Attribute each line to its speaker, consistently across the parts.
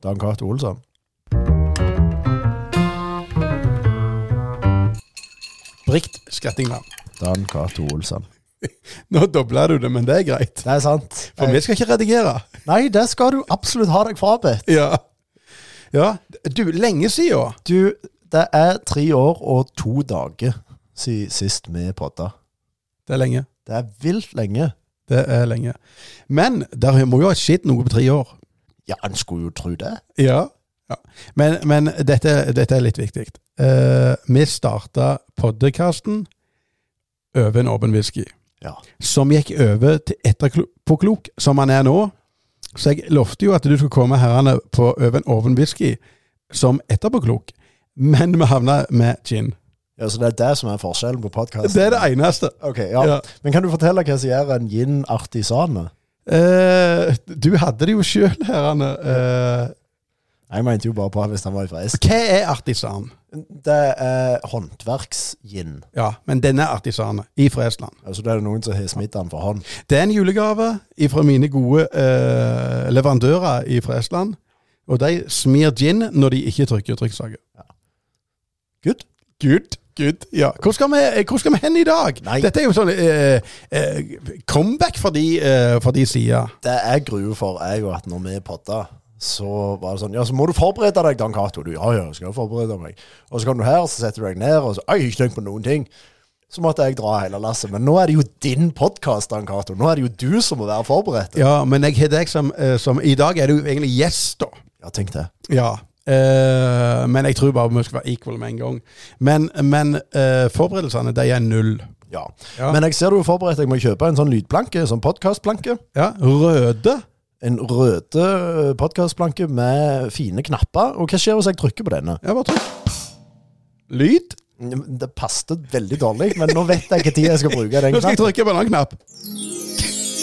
Speaker 1: Dan Cato Olsson.
Speaker 2: Brikt Skrettingland.
Speaker 1: Dan Cato Olsson.
Speaker 2: Nå dobla du det, men det er greit.
Speaker 1: Det er sant. Eh,
Speaker 2: For vi skal ikke redigere.
Speaker 1: Nei, det skal du absolutt ha deg frabedt.
Speaker 2: Ja. ja. Du, lenge siden.
Speaker 1: Du, det er tre år og to dager siden sist vi podda.
Speaker 2: Det er lenge.
Speaker 1: Det er vilt lenge.
Speaker 2: Det er lenge. Men der må jo ha skjedd noe på tre år.
Speaker 1: Ja, en skulle jo tro det.
Speaker 2: Ja. ja. Men, men dette, dette er litt viktig. Eh, vi starta podkasten over en åpen whisky.
Speaker 1: Ja.
Speaker 2: som gikk over til etterpåklok, som han er nå. Så jeg lovte jo at du skulle komme herrene på over en oven whisky som etterpåklok, men vi havna med gin.
Speaker 1: ja så det er det som er forskjellen på podkasten?
Speaker 2: Det er det eneste.
Speaker 1: Ok, ja.
Speaker 2: Ja.
Speaker 1: Men kan du fortelle hva som gjør en gin artisane?
Speaker 2: Eh, du hadde det jo sjøl, herrene. Eh,
Speaker 1: Jeg mente jo bare på hvis han var fra Est.
Speaker 2: hva er artisan?
Speaker 1: Det er håndverksgin.
Speaker 2: Ja, men denne er artisan fra Estland.
Speaker 1: Altså det er noen som har smitt den for hånd.
Speaker 2: Det er en julegave fra mine gode eh, leverandører fra Estland. Og de smir gin når de ikke trykker trykksaker.
Speaker 1: Good.
Speaker 2: Good. Good. Ja. Hvor skal, vi, eh, hvor skal vi hen i dag?
Speaker 1: Nei.
Speaker 2: Dette er jo sånn eh, eh, comeback for de, eh, for de sida.
Speaker 1: Det jeg gruer for, er jo at når vi podda, så var det sånn Ja, så må du forberede deg, Dan Cato. Du, ja, ja, skal jeg forberede meg. Og så kom du her, så setter du deg ned, og så Oi, ikke tenkt på noen ting. Så måtte jeg dra hele lasset. Men nå er det jo din podkast, Dan Cato. Nå er det jo du som må være forberedt.
Speaker 2: Ja, men jeg har deg som, eh, som I dag er du jo egentlig gjest, da.
Speaker 1: Ja, tenk det.
Speaker 2: Ja. Eh, men jeg tror bare vi skal være equal med en gang. Men, men eh, forberedelsene, de er null.
Speaker 1: Ja.
Speaker 2: Ja.
Speaker 1: Men jeg ser du har forberedt deg med å kjøpe en sånn lydplanke, en sånn podkastplanke.
Speaker 2: Ja, Røde.
Speaker 1: En røde podkastplanke med fine knapper. Og hva skjer hvis jeg trykker på denne?
Speaker 2: Ja, bare trykk. Lyd.
Speaker 1: Det passet veldig dårlig, men nå vet jeg ikke tid jeg skal bruke den
Speaker 2: Nå skal jeg
Speaker 1: knappen.
Speaker 2: trykke på en annen knapp.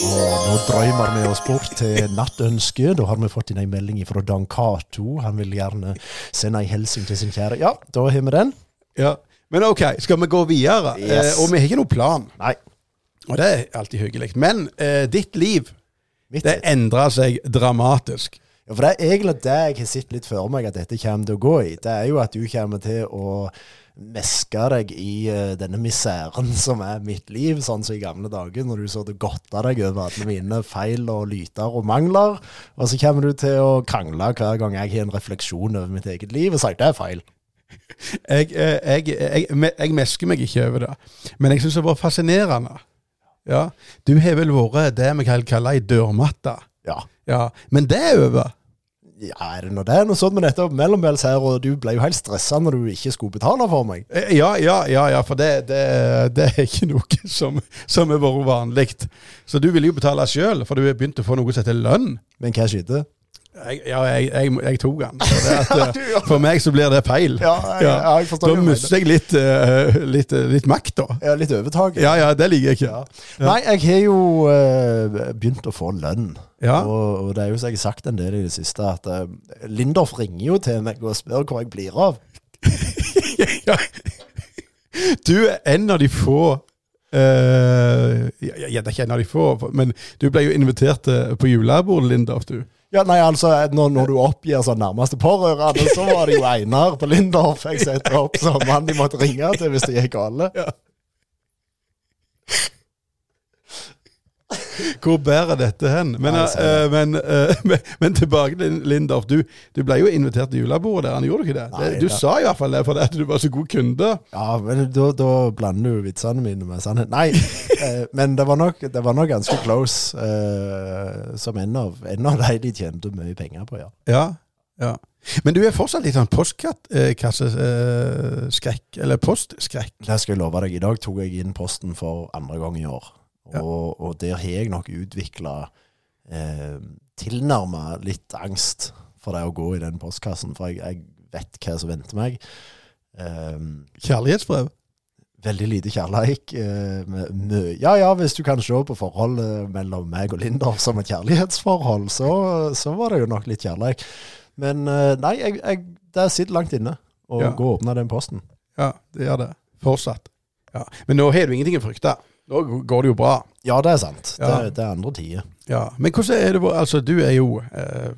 Speaker 1: Og nå drømmer vi oss bort til nattønske. Da har vi fått inn en melding fra Dan Cato. Han vil gjerne sende en hilsen til sin kjære. Ja, da har vi den.
Speaker 2: Ja. Men OK, skal vi gå videre?
Speaker 1: Yes.
Speaker 2: Eh, og vi har ikke noen plan.
Speaker 1: Nei.
Speaker 2: Og det er alltid hyggelig. Men eh, ditt liv,
Speaker 1: Mitt.
Speaker 2: det
Speaker 1: Ja,
Speaker 2: endrer seg dramatisk.
Speaker 1: for det er egentlig det jeg har sett litt for meg at dette kommer til å gå i. Det er jo at du kommer til å meske deg i eh, denne miseren som er mitt liv, sånn som i gamle dager, når du så det godta deg over alle mine feil og lyter og mangler. Og så kommer du til å krangle hver gang jeg har en refleksjon over mitt eget liv og sier det er feil.
Speaker 2: Jeg, eh, jeg, jeg, me- jeg mesker meg ikke over det, men jeg syns det var fascinerende. Ja. Du har vel vært det vi kan kalle ei dørmatte.
Speaker 1: Ja.
Speaker 2: Ja. Men det er over.
Speaker 1: Ja, er det nå det? Nå satt vi nettopp mellombels her, og du ble jo helt stressa når du ikke skulle betale for meg.
Speaker 2: Eh, Ja, ja, ja, ja for det, det, det er ikke noe som, som har vært vanlig. Så du ville jo betale sjøl, for du har begynt å få noe som heter lønn.
Speaker 1: Men hva skjedde?
Speaker 2: Jeg, ja, jeg, jeg, jeg tok den. For, det
Speaker 1: Du,
Speaker 2: at, eh,
Speaker 1: ja.
Speaker 2: for meg så blir det feil.
Speaker 1: Ja, jeg- ja, jeg forstår hva du
Speaker 2: da
Speaker 1: mener.
Speaker 2: mister jeg litt, eh, litt, litt makt, da.
Speaker 1: Ja, litt overtak.
Speaker 2: Ja, ja, det liker jeg ikke.
Speaker 1: Ja. Nei, jeg har jo eh, begynt å få lønn.
Speaker 2: Ja.
Speaker 1: Og, og det er jo som jeg har sagt en del i det siste, at uh, Lindorf ringer jo til meg og spør hvor jeg blir av.
Speaker 2: Ja. Du er en av de få eh, ja, ja, det er ikke en av de få, men du ble jo invitert eh, på julebordet, Lindorf, du.
Speaker 1: Ja, nei, altså, når, når du oppgir sånn nærmeste pårørende, så var det jo Einar på Lindorf jeg setter opp som han de måtte ringe til hvis det gikk galt.
Speaker 2: Hvor bærer dette hen? Men,
Speaker 1: Nei, jeg ser det.
Speaker 2: eh, men, eh, men, men tilbake til Lindorf. Du, du ble jo invitert til julebordet der, han gjorde du ikke det?
Speaker 1: Nei,
Speaker 2: det du
Speaker 1: det-
Speaker 2: sa i hvert fall det, for det at du var så god kunde.
Speaker 1: Ja, men da, da blander du vitsene mine med sannhet. Nei, eh, men det var nok, det var nok ganske close eh, som en av, en av de de tjente mye penger på, ja.
Speaker 2: Ja, ja. Men du er fortsatt litt sånn postkasseskrekk, eh, eller postskrekk.
Speaker 1: Det skal jeg love deg. I dag tok jeg inn posten for andre gang i år. Og,
Speaker 2: Ja.
Speaker 1: og der har jeg nok utvikla eh, tilnærma litt angst for det å gå i den postkassen, for jeg, jeg vet hva som venter meg. Eh,
Speaker 2: Kjærlighetsbrev.
Speaker 1: Veldig lite kjærleik. eh, med- med- Ja ja, hvis du kan se på forholdet mellom meg og Lindorf som et kjærlighetsforhold, så, så var det jo nok litt kjærleik. Men eh, nei, jeg, jeg, det sitter langt inne å
Speaker 2: Ja.
Speaker 1: gå og åpne den posten.
Speaker 2: Ja, det gjør det. Fortsatt. Ja. Men nå har du ingenting å frykte. Nå går det jo bra.
Speaker 1: Ja, det er sant.
Speaker 2: Ja.
Speaker 1: Det, det er andre tider.
Speaker 2: Ja, Men hvordan er det vår- Altså, du er jo eh,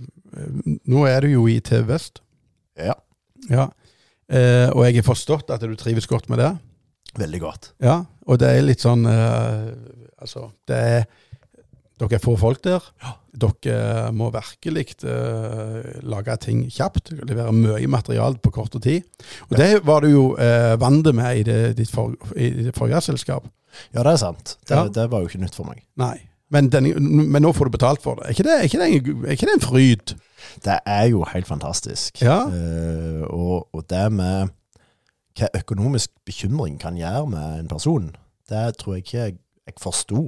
Speaker 2: Nå er du jo i TV Vest.
Speaker 1: Ja,
Speaker 2: Ja. Eh, og jeg har forstått at du trives godt med det.
Speaker 1: veldig godt.
Speaker 2: Ja, og det er litt sånn eh, Altså, det er Dere er få folk der. Dere må virkelig eh, lage ting kjapt. Levere mye materiale på kort tid. Og det var du jo eh, vant med i, det, ditt for, i ditt forrige selskap.
Speaker 1: Ja, det er sant. Det,
Speaker 2: Ja.
Speaker 1: det var jo ikke nytt for meg.
Speaker 2: Nei. Men, den, men nå får du betalt for det. Er ikke det, er ikke det, en, er ikke det en fryd?
Speaker 1: Det er jo helt fantastisk.
Speaker 2: Ja.
Speaker 1: Eh, og, og det med hva økonomisk bekymring kan gjøre med en person, det tror jeg ikke jeg, jeg forsto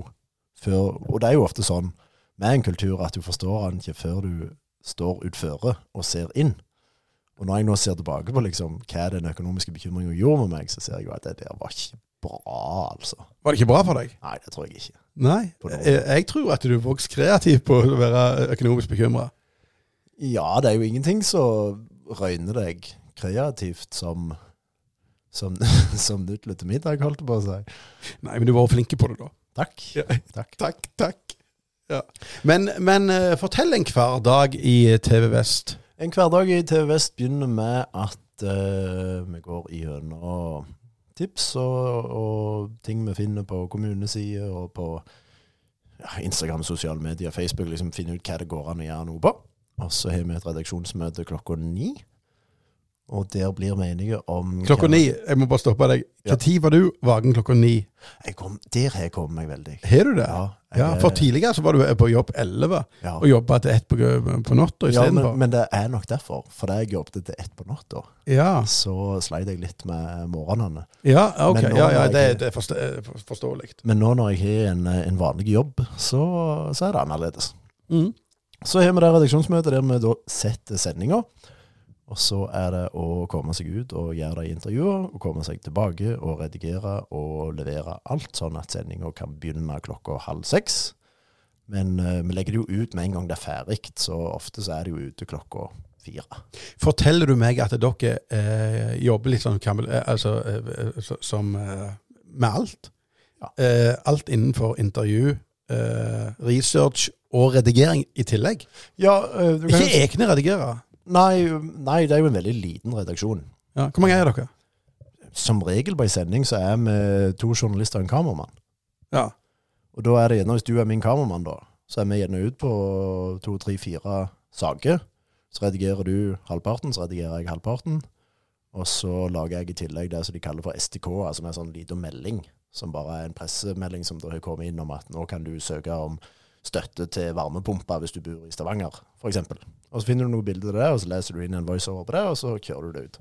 Speaker 1: før. Og det er jo ofte sånn med en kultur at du forstår den ikke før du står utføre og ser inn. Og når jeg nå ser tilbake på liksom, hva den økonomiske bekymringen gjorde med meg, så ser jeg jo at det der var ikke bra, altså.
Speaker 2: Var det ikke bra for deg?
Speaker 1: Nei, det tror jeg ikke.
Speaker 2: Nei.
Speaker 1: På noen måte.
Speaker 2: Jeg, jeg tror at du vokste kreativ på å være økonomisk bekymra.
Speaker 1: Ja, det er jo ingenting som røyner deg kreativt som som, som nudler til middag, holdt jeg på å si.
Speaker 2: Nei, men du var flink på det da.
Speaker 1: Takk.
Speaker 2: Ja.
Speaker 1: Takk.
Speaker 2: Takk, takk. Ja. Men, men eh, fortell en hver dag i TV Vest.
Speaker 1: En hverdag i TV Vest begynner med at eh, vi går igjennom tips og, og ting vi finner på kommunesida og på ja, Instagram, sosiale medier, Facebook. liksom Finne ut hva det går an å gjøre noe på. Og så har vi et redaksjonsmøte klokka ni. Og der blir vi enige om
Speaker 2: Klokka
Speaker 1: hva-
Speaker 2: ni. Jeg må bare stoppe deg.
Speaker 1: Ja.
Speaker 2: Når var du vaken klokka ni?
Speaker 1: Jeg kom, der har jeg kommet meg veldig.
Speaker 2: Har du det? Ja,
Speaker 1: Ja,
Speaker 2: For tidligere så var du eh, på jobb elleve
Speaker 1: Ja.
Speaker 2: og jobba til ett på, på natta
Speaker 1: Ja, men,
Speaker 2: istedenfor.
Speaker 1: men det er nok derfor. Fordi jeg jobbet til ett på natta,
Speaker 2: Ja,
Speaker 1: så sleit jeg litt med morgenene.
Speaker 2: ja, ok.
Speaker 1: Men nå
Speaker 2: Ja, ja,
Speaker 1: var jeg
Speaker 2: det,
Speaker 1: ikke-
Speaker 2: det er forstå, for- forståelig.
Speaker 1: Men nå når jeg har en, eh, en vanlig jobb, så, så er det annerledes. Mm. Så har vi det redaksjonsmøtet der vi da setter sendinga. Og så er det å komme seg ut og gjøre de intervjuer, og komme seg tilbake og redigere og levere alt, sånn at sendinga kan begynne klokka halv seks. Men eh, vi legger det jo ut med en gang det er ferdig, så ofte så er det jo ute klokka fire.
Speaker 2: Forteller du meg at dere eh, jobber litt sånn kamel- eh, altså, eh, så, som eh, med alt?
Speaker 1: Ja.
Speaker 2: Eh, alt innenfor intervju, eh, research og redigering i tillegg?
Speaker 1: Ja, eh, du kan jo
Speaker 2: Ikke egne redigerere.
Speaker 1: Nei, nei, det er jo en veldig liten redaksjon.
Speaker 2: Ja. Hvor mange er dere?
Speaker 1: Som regel på en sending så er vi to journalister og en kameramann.
Speaker 2: Ja.
Speaker 1: Og da er det gjerne, hvis du er min kameramann, da, så er vi gjerne ut på to, tre, fire saker. Så redigerer du halvparten, så redigerer jeg halvparten. Og så lager jeg i tillegg det som de kaller for STK, altså en sånn liten melding, som bare er en pressemelding som da har kommet inn om at nå kan du søke om støtte til varmepumper hvis du bor i Stavanger, f.eks. Og så finner du noen bilder av det, og så leser du inn en voiceover på det, og så kjører du det ut.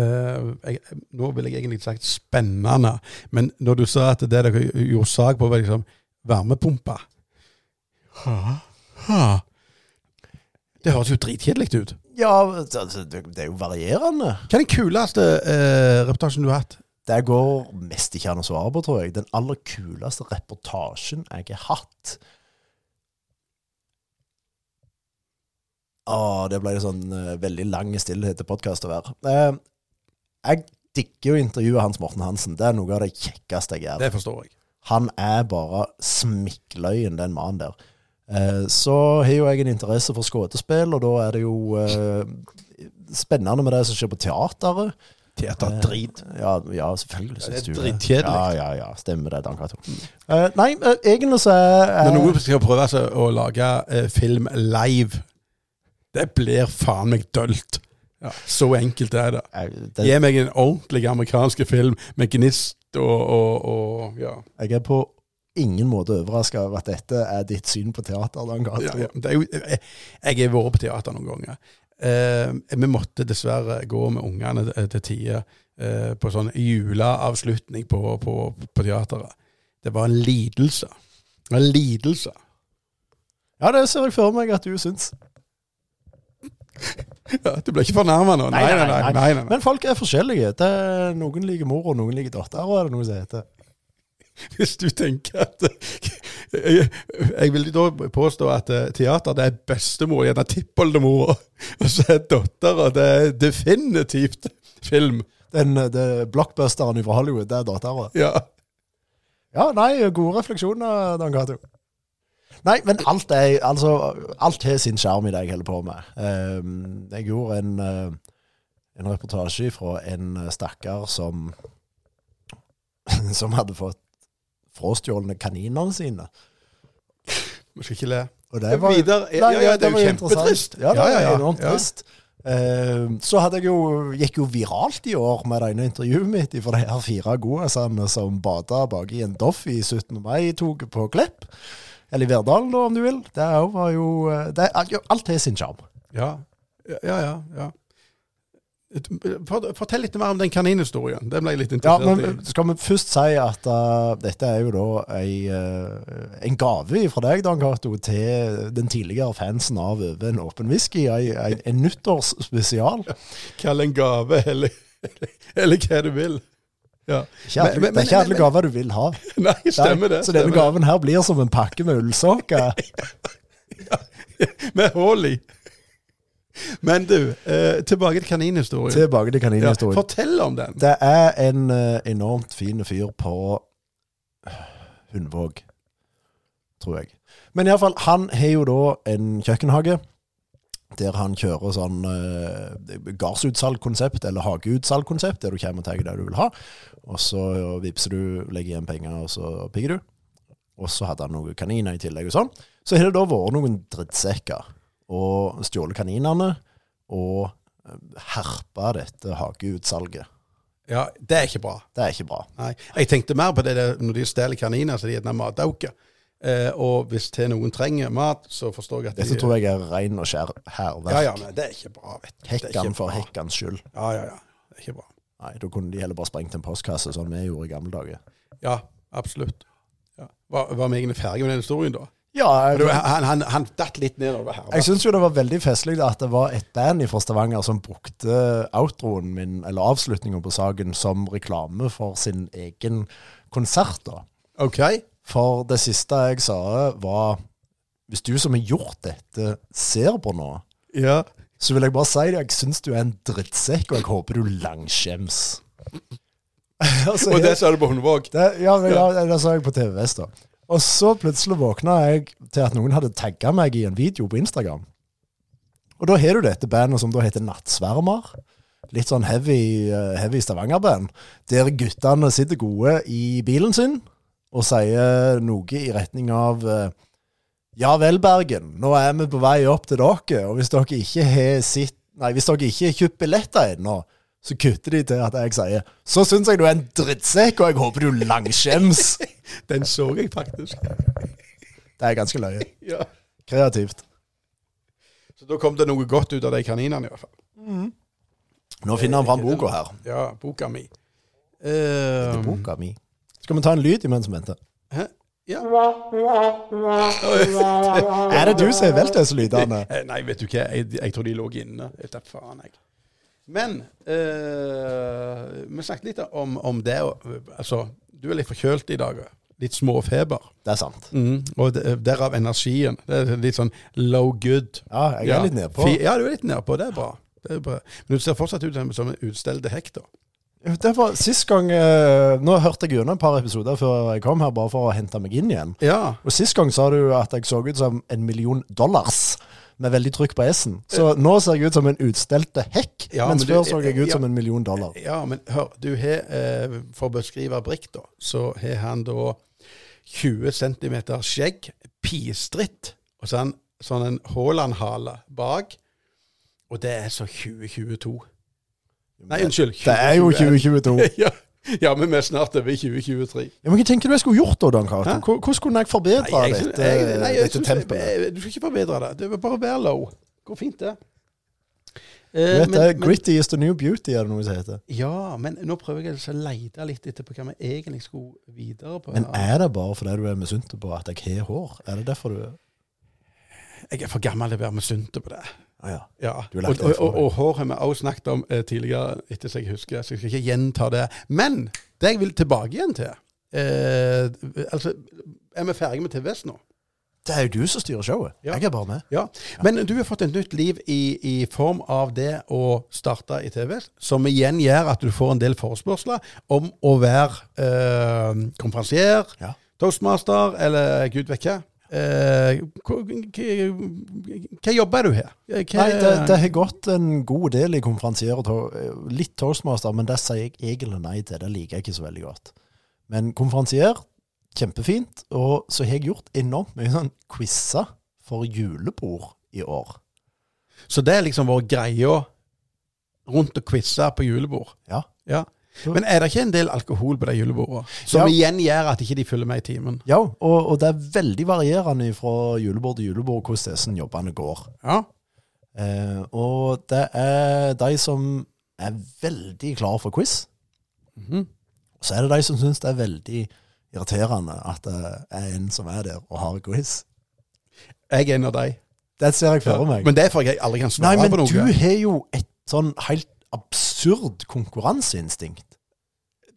Speaker 2: Eh, jeg, nå ville jeg egentlig sagt spennende, men når du sa at det dere gjorde sak på, var liksom varmepumpa ha, ha. Det høres jo dritkjedelig ut.
Speaker 1: Ja, altså, det det er jo varierende.
Speaker 2: Hva er den kuleste eh, reportasjen du har hatt?
Speaker 1: Det går mest ikke an å svare på, tror jeg. Den aller kuleste reportasjen jeg har hatt Åh, det ble en sånn eh, veldig lang stillhet til podkast å være. Eh, jeg digger å intervjue Hans Morten Hansen. Det er noe av det kjekkeste jeg gjør.
Speaker 2: Det forstår jeg.
Speaker 1: Han er bare smikkløyen, den mannen der. Eh, Så har jo jeg en interesse for skuespill, og da er det jo eh, spennende med det som skjer på teateret.
Speaker 2: Teater drit.
Speaker 1: Ja, ja selvfølgelig
Speaker 2: Ja, det er
Speaker 1: syns du
Speaker 2: dritkjedelig.
Speaker 1: Ja, ja, ja. Stemmer det, Dan Cato. Eh, nei, eh, egentlig så er
Speaker 2: Når
Speaker 1: er-
Speaker 2: noen skal prøve seg å lage eh, film live, det blir faen meg dølt. Ja, så enkelt er det.
Speaker 1: jeg, det,
Speaker 2: Gi meg en ordentlig amerikansk film med gnist og, og, og ja.
Speaker 1: jeg er på ingen måte overraska over at dette er ditt syn på teater, Dan Cato.
Speaker 2: ja, ja. Det er jo, jeg, jeg har vært på teater noen ganger. Eh, vi måtte dessverre gå med ungene til- til tide eh, på sånn juleavslutning på, på, på teateret. Det var en lidelse. Det var En lidelse.
Speaker 1: Ja, det ser jeg for meg at du syns.
Speaker 2: Ja, du ble ikke fornærma nå? Nei, nei, nei. nei, nei,
Speaker 1: Men folk er forskjellige. Det er, noen liker mor, og noen liker datter, og er det noe som heter.
Speaker 2: Hvis du tenker at Jeg, jeg vil da påstå at eh, teater det er bestemor, gjerne tippoldemora. Og så er dattera Det er definitivt film.
Speaker 1: Den eh, det, blockbusteren fra Hollywood, det er dattera.
Speaker 2: Ja.
Speaker 1: Ja, nei, gode refleksjoner, Dan Cato. Nei, men alt er Altså, alt har sin sjarm i det jeg holder på med. Ehm, jeg gjorde en, eh, en reportasje fra en eh, stakkar som Som hadde fått frastjålne kaninene sine.
Speaker 2: Vi skal ikke le.
Speaker 1: Og det var,
Speaker 2: Videre. Ja, ja, ja, det er
Speaker 1: var
Speaker 2: jo
Speaker 1: interessant.
Speaker 2: kjempetrist.
Speaker 1: Ja, det
Speaker 2: Ja, ja, ja.
Speaker 1: er enormt
Speaker 2: Ja.
Speaker 1: trist. Ehm, så hadde jeg jo, gikk jo viralt i år med det ene intervjuet mitt for de her fire godasene som bada baki en Doff i 17. mai-toget på Klepp. Eller i Verdalen, da, om du vil. Det er jo- var jo eh, det, er- jo, Alt har sin sjarm.
Speaker 2: Ja, ja, ja. ja. Et- fort- Fortell litt mer om den kaninhistorien. Den ble jeg litt
Speaker 1: Ja,
Speaker 2: interessert
Speaker 1: men
Speaker 2: i.
Speaker 1: skal vi først si at eh, dette er jo da ei, eh, en gave fra deg, Dan Cato, til den tidligere fansen av Over en åpen whisky. Ei, ei, en nyttårsspesial.
Speaker 2: Kall en gave, eller, eller, eller hva du vil. Ja.
Speaker 1: Ikke alle-
Speaker 2: Men- men-
Speaker 1: det er ikke alle
Speaker 2: men-
Speaker 1: gaver du vil ha.
Speaker 2: Nei, stemmer det.
Speaker 1: Så denne
Speaker 2: stemmer det.
Speaker 1: gaven her blir som en pakke med ullsokker.
Speaker 2: Med hull i. Men du, eh, tilbake til kaninhistorien.
Speaker 1: Tilbake til
Speaker 2: ja,
Speaker 1: kaninhistorien.
Speaker 2: fortell om den.
Speaker 1: det er en eh, enormt fin fyr på Hundvåg, tror jeg. Men iallfall, han har jo da en kjøkkenhage. Der han kjører sånn eh, gardsutsalgkonsept, eller hageutsalgkonsept, der du kommer og tar det du vil ha. Og så vipser du, legger igjen penger, og så pigger du. Og så hadde han noen kaniner i tillegg og sånn. Så har det da vært noen drittsekker og stjålet kaninene og eh, herpa dette hageutsalget.
Speaker 2: Ja, Det er ikke bra.
Speaker 1: Det er ikke bra.
Speaker 2: Nei. Jeg tenkte mer på det der, når de stjeler kaniner, så de gjerne matauker. Eh, og hvis til noen trenger mat, så forstår jeg at
Speaker 1: Dette
Speaker 2: de
Speaker 1: tror jeg er ren og skjær hærverk.
Speaker 2: Ja, ja, men det er ikke bra, vet du. Det er ikke
Speaker 1: Hekkan for
Speaker 2: bra.
Speaker 1: hekkans skyld.
Speaker 2: Ja, ja, ja. Det er ikke bra.
Speaker 1: Nei, da kunne de heller bare sprengt en postkasse, sånn vi gjorde i gamle dager.
Speaker 2: Ja, absolutt. Ja. Var, var vi egentlig ferdige med den historien, da?
Speaker 1: Ja,
Speaker 2: Du,
Speaker 1: jeg,
Speaker 2: han, han, han datt litt nedover her.
Speaker 1: jeg syns jo det var veldig festlig at det var et band fra Stavanger som brukte outroen min, eller avslutninga på saken, som reklame for sin egen konsert, da.
Speaker 2: OK?
Speaker 1: For det siste jeg sa, var Hvis du som har gjort dette, ser på nå,
Speaker 2: Ja.
Speaker 1: så vil jeg bare si det. Jeg syns du er en drittsekk, og jeg håper du langskjems. altså,
Speaker 2: Og det sa du på Hundvåg?
Speaker 1: Det, ja, men, ja. det- det så jeg på TV Vest da. Og så plutselig våkna jeg til at noen hadde tagga meg i en video på Instagram. Og da har du dette bandet som da heter Nattsvermer. Litt sånn heavy, eh, heavy Stavanger-band. Der guttene sitter gode i bilen sin og sier noe i retning av eh, Ja vel, Bergen, nå er vi på vei opp til dere, og hvis dere ikke har sitt Nei, hvis dere ikke har kjøpt billetter ennå, så kutter de til at jeg sier Så syns jeg du er en drittsekk, og jeg håper du langskjems.
Speaker 2: Den så jeg faktisk.
Speaker 1: Det er ganske løye.
Speaker 2: Ja.
Speaker 1: Kreativt.
Speaker 2: Så da kom det noe godt ut av de kaninene, i hvert fall.
Speaker 1: Nå finner han fram boka her.
Speaker 2: Ja, boka mi.
Speaker 1: Det er
Speaker 2: Uh,
Speaker 1: boka mi. Skal vi ta en lyd imens vi venter?
Speaker 2: ja.
Speaker 1: Er det du som har valgt disse lydene?
Speaker 2: Eh, Nei, vet du hva, jeg, jeg tror de lå inne. Jeg tar faen, jeg. Men eh, vi snakket litt om, om det å Altså, du er litt forkjølt i dag. eh. Litt småfeber.
Speaker 1: Det er sant.
Speaker 2: Og det- derav energien. Det er litt sånn low good.
Speaker 1: Ja, jeg er litt nedpå.
Speaker 2: Fi- Ja, du er litt nedpå. Det er bra. Det er bra. Men du ser fortsatt ut som- som en utstelte hekk, da.
Speaker 1: Det var sist gang eh, Nå hørte jeg gjennom et par episoder før jeg kom her, bare for å hente meg inn igjen.
Speaker 2: Ja.
Speaker 1: Og sist gang sa du at jeg så ut som en million dollars, med veldig trykk på S-en. Så nå ser jeg ut som en utstelte hekk,
Speaker 2: Ja,
Speaker 1: mens
Speaker 2: men du-
Speaker 1: før så jeg ut
Speaker 2: ja.
Speaker 1: som en million dollar.
Speaker 2: Ja, men hør, du har, eh, for å beskrive Brick, da, så har han da 20 cm skjegg, pistritt, og så han, sånn en Haaland-hale bak. Og det er så 2022. Nei, unnskyld.
Speaker 1: Det er jo
Speaker 2: 2021.
Speaker 1: 2022.
Speaker 2: ja, ja, men vi er snart over i 2023.
Speaker 1: Ja, men Hva tenker du jeg skulle gjort da, Dan Cato?
Speaker 2: Hæ?
Speaker 1: Hvor- Hvordan kunne jeg forbedre
Speaker 2: jeg-
Speaker 1: dette,
Speaker 2: jeg- nei, jeg
Speaker 1: dette
Speaker 2: synes- eh,
Speaker 1: tempoet?
Speaker 2: jeg- Du skal ikke forbedre det. Det er bare være low. Går fint, det. Eh,
Speaker 1: Du vet,
Speaker 2: men-
Speaker 1: det er
Speaker 2: men-
Speaker 1: Gritty is the new beauty, er det noe som heter.
Speaker 2: Ja, men nå prøver jeg altså å lete litt etter på hva vi egentlig skulle videre på.
Speaker 1: Men
Speaker 2: her.
Speaker 1: er det bare fordi du er misunt på at jeg har hår? Er det derfor du
Speaker 2: Jeg er for gammel til å være misunnelig på det.
Speaker 1: ah, ja.
Speaker 2: Ja.
Speaker 1: Du har
Speaker 2: og,
Speaker 1: lagt
Speaker 2: og,
Speaker 1: det for
Speaker 2: og,
Speaker 1: deg.
Speaker 2: og hår har vi også snakket om eh, tidligere, etter så jeg husker, så jeg skal ikke gjenta det. Men det jeg vil tilbake igjen til eh, altså, Er vi ferdige med TVS nå?
Speaker 1: Det er jo du som styrer showet.
Speaker 2: Ja.
Speaker 1: Jeg er bare med.
Speaker 2: Ja. Men du har fått et nytt liv i, i form av det å starte i TVS, som igjen gjør at du får en del forespørsler om å være eh, konferansier,
Speaker 1: Ja.
Speaker 2: toastmaster eller gud vet hva. Eh, hva, hva, hva jobber du her? Eh, Hva,
Speaker 1: Nei, det, det har gått en god del i konferansier og to- litt toastmaster, men det sier jeg egentlig nei til. Det liker jeg ikke så veldig godt. Men konferansier, kjempefint. Og så har jeg gjort enormt mye sånn quizer for julebord i år.
Speaker 2: Så det er liksom vår greie rundt å quize på julebord.
Speaker 1: Ja.
Speaker 2: Men er det ikke en del alkohol på de julebordene?
Speaker 1: Ja.
Speaker 2: Som igjen gjør at ikke de følger med i timen.
Speaker 1: Ja, og, og det er veldig varierende fra julebord til julebord hvordan disse jobbene går.
Speaker 2: Ja.
Speaker 1: Eh, og det er de som er veldig klare for quiz,
Speaker 2: Mhm.
Speaker 1: Så er det de som syns det er veldig irriterende at det er en som er der og har quiz.
Speaker 2: Jeg er en av de.
Speaker 1: Det ser jeg for meg.
Speaker 2: Men det er fordi jeg aldri kan
Speaker 1: Nei,
Speaker 2: svare
Speaker 1: men
Speaker 2: på noe.
Speaker 1: du har jo et sånn helt absurd konkurranseinstinkt.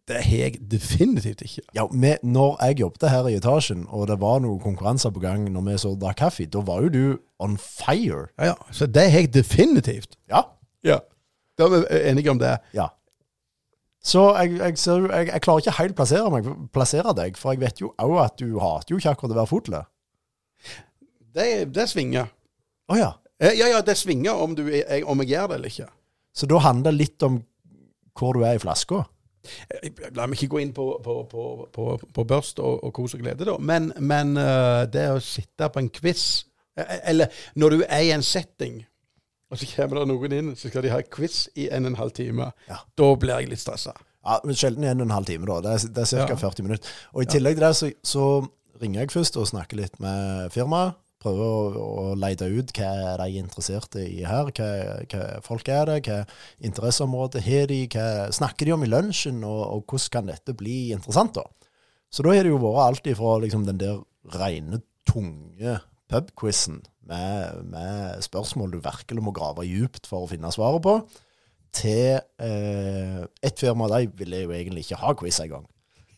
Speaker 2: Det har jeg definitivt ikke.
Speaker 1: Ja, vi, når jeg jobbet her i etasjen, og det var noen konkurranser på gang når vi så drakk kaffe, da var jo du on fire.
Speaker 2: Ja, ja. Så det har jeg definitivt.
Speaker 1: Ja.
Speaker 2: Ja. Da er vi enige om det.
Speaker 1: ja. Så jeg, jeg, ser, jo- jeg, jeg klarer ikke helt plassere meg, plassere deg, for jeg vet jo òg at du hater jo ikke akkurat å være fotle.
Speaker 2: Det, det svinger.
Speaker 1: Å ja.
Speaker 2: Eh, Ja, ja, det svinger om, du, jeg, om jeg gjør det eller ikke.
Speaker 1: Så da handler det litt om hvor du er i flaska.
Speaker 2: Eh, La meg ikke gå inn på, på, på, på, på børst og, og kos og glede, da. Men, men eh, det å sitte på en quiz, eh, eller når du er i en setting, og så kommer det noen inn, så skal de ha quiz i en og en halv time.
Speaker 1: Ja.
Speaker 2: Da blir jeg litt stressa.
Speaker 1: Ja, men Sjelden en og en halv time, da. Det er, det er ca.
Speaker 2: Ja.
Speaker 1: 40 minutter. Og I tillegg til det så, så ringer jeg først og snakker litt med firmaet. Prøver å, å lete ut hva er de er interessert i her, hva, hva folk er det, hva interesseområde har de, hva snakker de om i lunsjen, og, og hvordan kan dette bli interessant, da. Så da har det jo vært alt ifra liksom, den der rene, tunge pubquizen med, med spørsmål du virkelig må grave djupt for å finne svaret på, til eh, et firma de ville jo egentlig ikke ha quiz engang.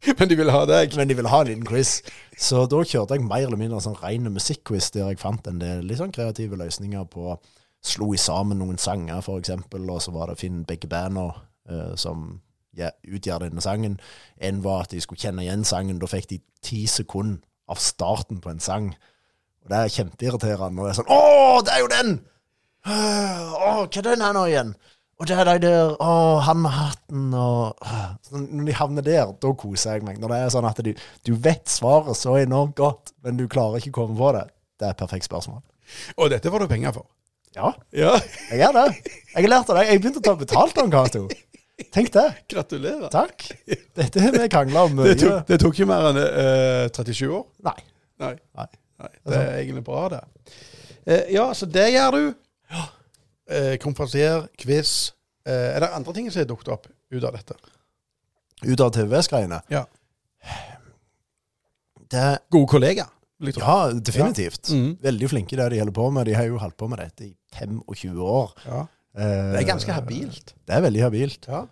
Speaker 2: Men de vil ha deg.
Speaker 1: Men de ville ha en liten quiz. Så da kjørte jeg mer eller mindre en sånn ren musikkquiz, der jeg fant en del litt sånn kreative løsninger på Slo i sammen noen sanger, for eksempel, og så var det Finn begge banda eh, som ja, utgjør denne sangen. En var at de skulle kjenne igjen sangen. Da fikk de ti sekunder av starten på en sang. Og det er kjempeirriterende. Og det er sånn Å, det er jo den! Øh, Å, hva er den her nå igjen? Og det er de der Å, han med hatten og øh. Så Når de havner der, da koser jeg meg. Når det er sånn at de, du vet svaret så enormt godt, men du klarer ikke å komme på det. Det er et perfekt spørsmål.
Speaker 2: Og dette får du penger for.
Speaker 1: Ja,
Speaker 2: Ja,
Speaker 1: jeg er det. Jeg har lært av deg. Jeg begynte å ta betalt av Cato. Tenk det.
Speaker 2: gratulerer.
Speaker 1: Takk. Dette har vi krangla om
Speaker 2: Det
Speaker 1: mye.
Speaker 2: tok, det tok ikke mer enn eh, 37 år.
Speaker 1: Nei.
Speaker 2: Nei.
Speaker 1: Nei.
Speaker 2: Nei, det er egentlig bra, det. Eh, ja, så det gjør du. Eh, konferansier, quiz. Eh, er det andre ting som er dukket opp ut av dette?
Speaker 1: Ut av TVS-greiene.
Speaker 2: Ja.
Speaker 1: Det
Speaker 2: Gode kollegaer. vil jeg tro.
Speaker 1: Ja, definitivt.
Speaker 2: Ja. Mhm.
Speaker 1: Veldig flinke i det de holder på med. De har jo holdt på med dette i 25 år.
Speaker 2: sånn. Ja.
Speaker 1: Eh,
Speaker 2: Det er ganske habilt.
Speaker 1: Det er veldig habilt.
Speaker 2: Ja.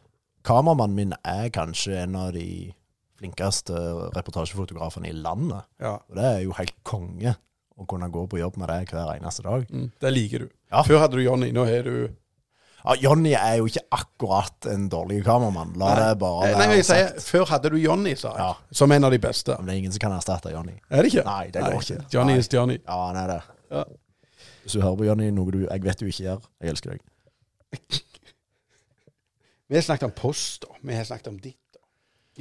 Speaker 1: Kameramannen min er kanskje en av de flinkeste reportasjefotografene i landet.
Speaker 2: Ja.
Speaker 1: Og det er jo helt konge å kunne gå på jobb med det hver eneste dag.
Speaker 2: Mm, det liker du.
Speaker 1: Ja.
Speaker 2: Før hadde du Johnny, nå har du
Speaker 1: Ja, Jonny er jo ikke akkurat en dårlig kameramann. La det bare
Speaker 2: Eh, Nei, men jeg
Speaker 1: sagt.
Speaker 2: sier, Før hadde du Johnny, sa jeg.
Speaker 1: Ja.
Speaker 2: Som en av de beste.
Speaker 1: Men det er ingen som kan erstatte Jonny.
Speaker 2: Er det ikke?
Speaker 1: Nei, det går ikke.
Speaker 2: Johnny
Speaker 1: Nei.
Speaker 2: is Johnny.
Speaker 1: Ja, han er det.
Speaker 2: Ja.
Speaker 1: Hvis du hører på Jonny, noe du Jeg vet du ikke gjør. Jeg elsker deg.
Speaker 2: Vi har snakket om post, da. Vi har snakket om ditt. da.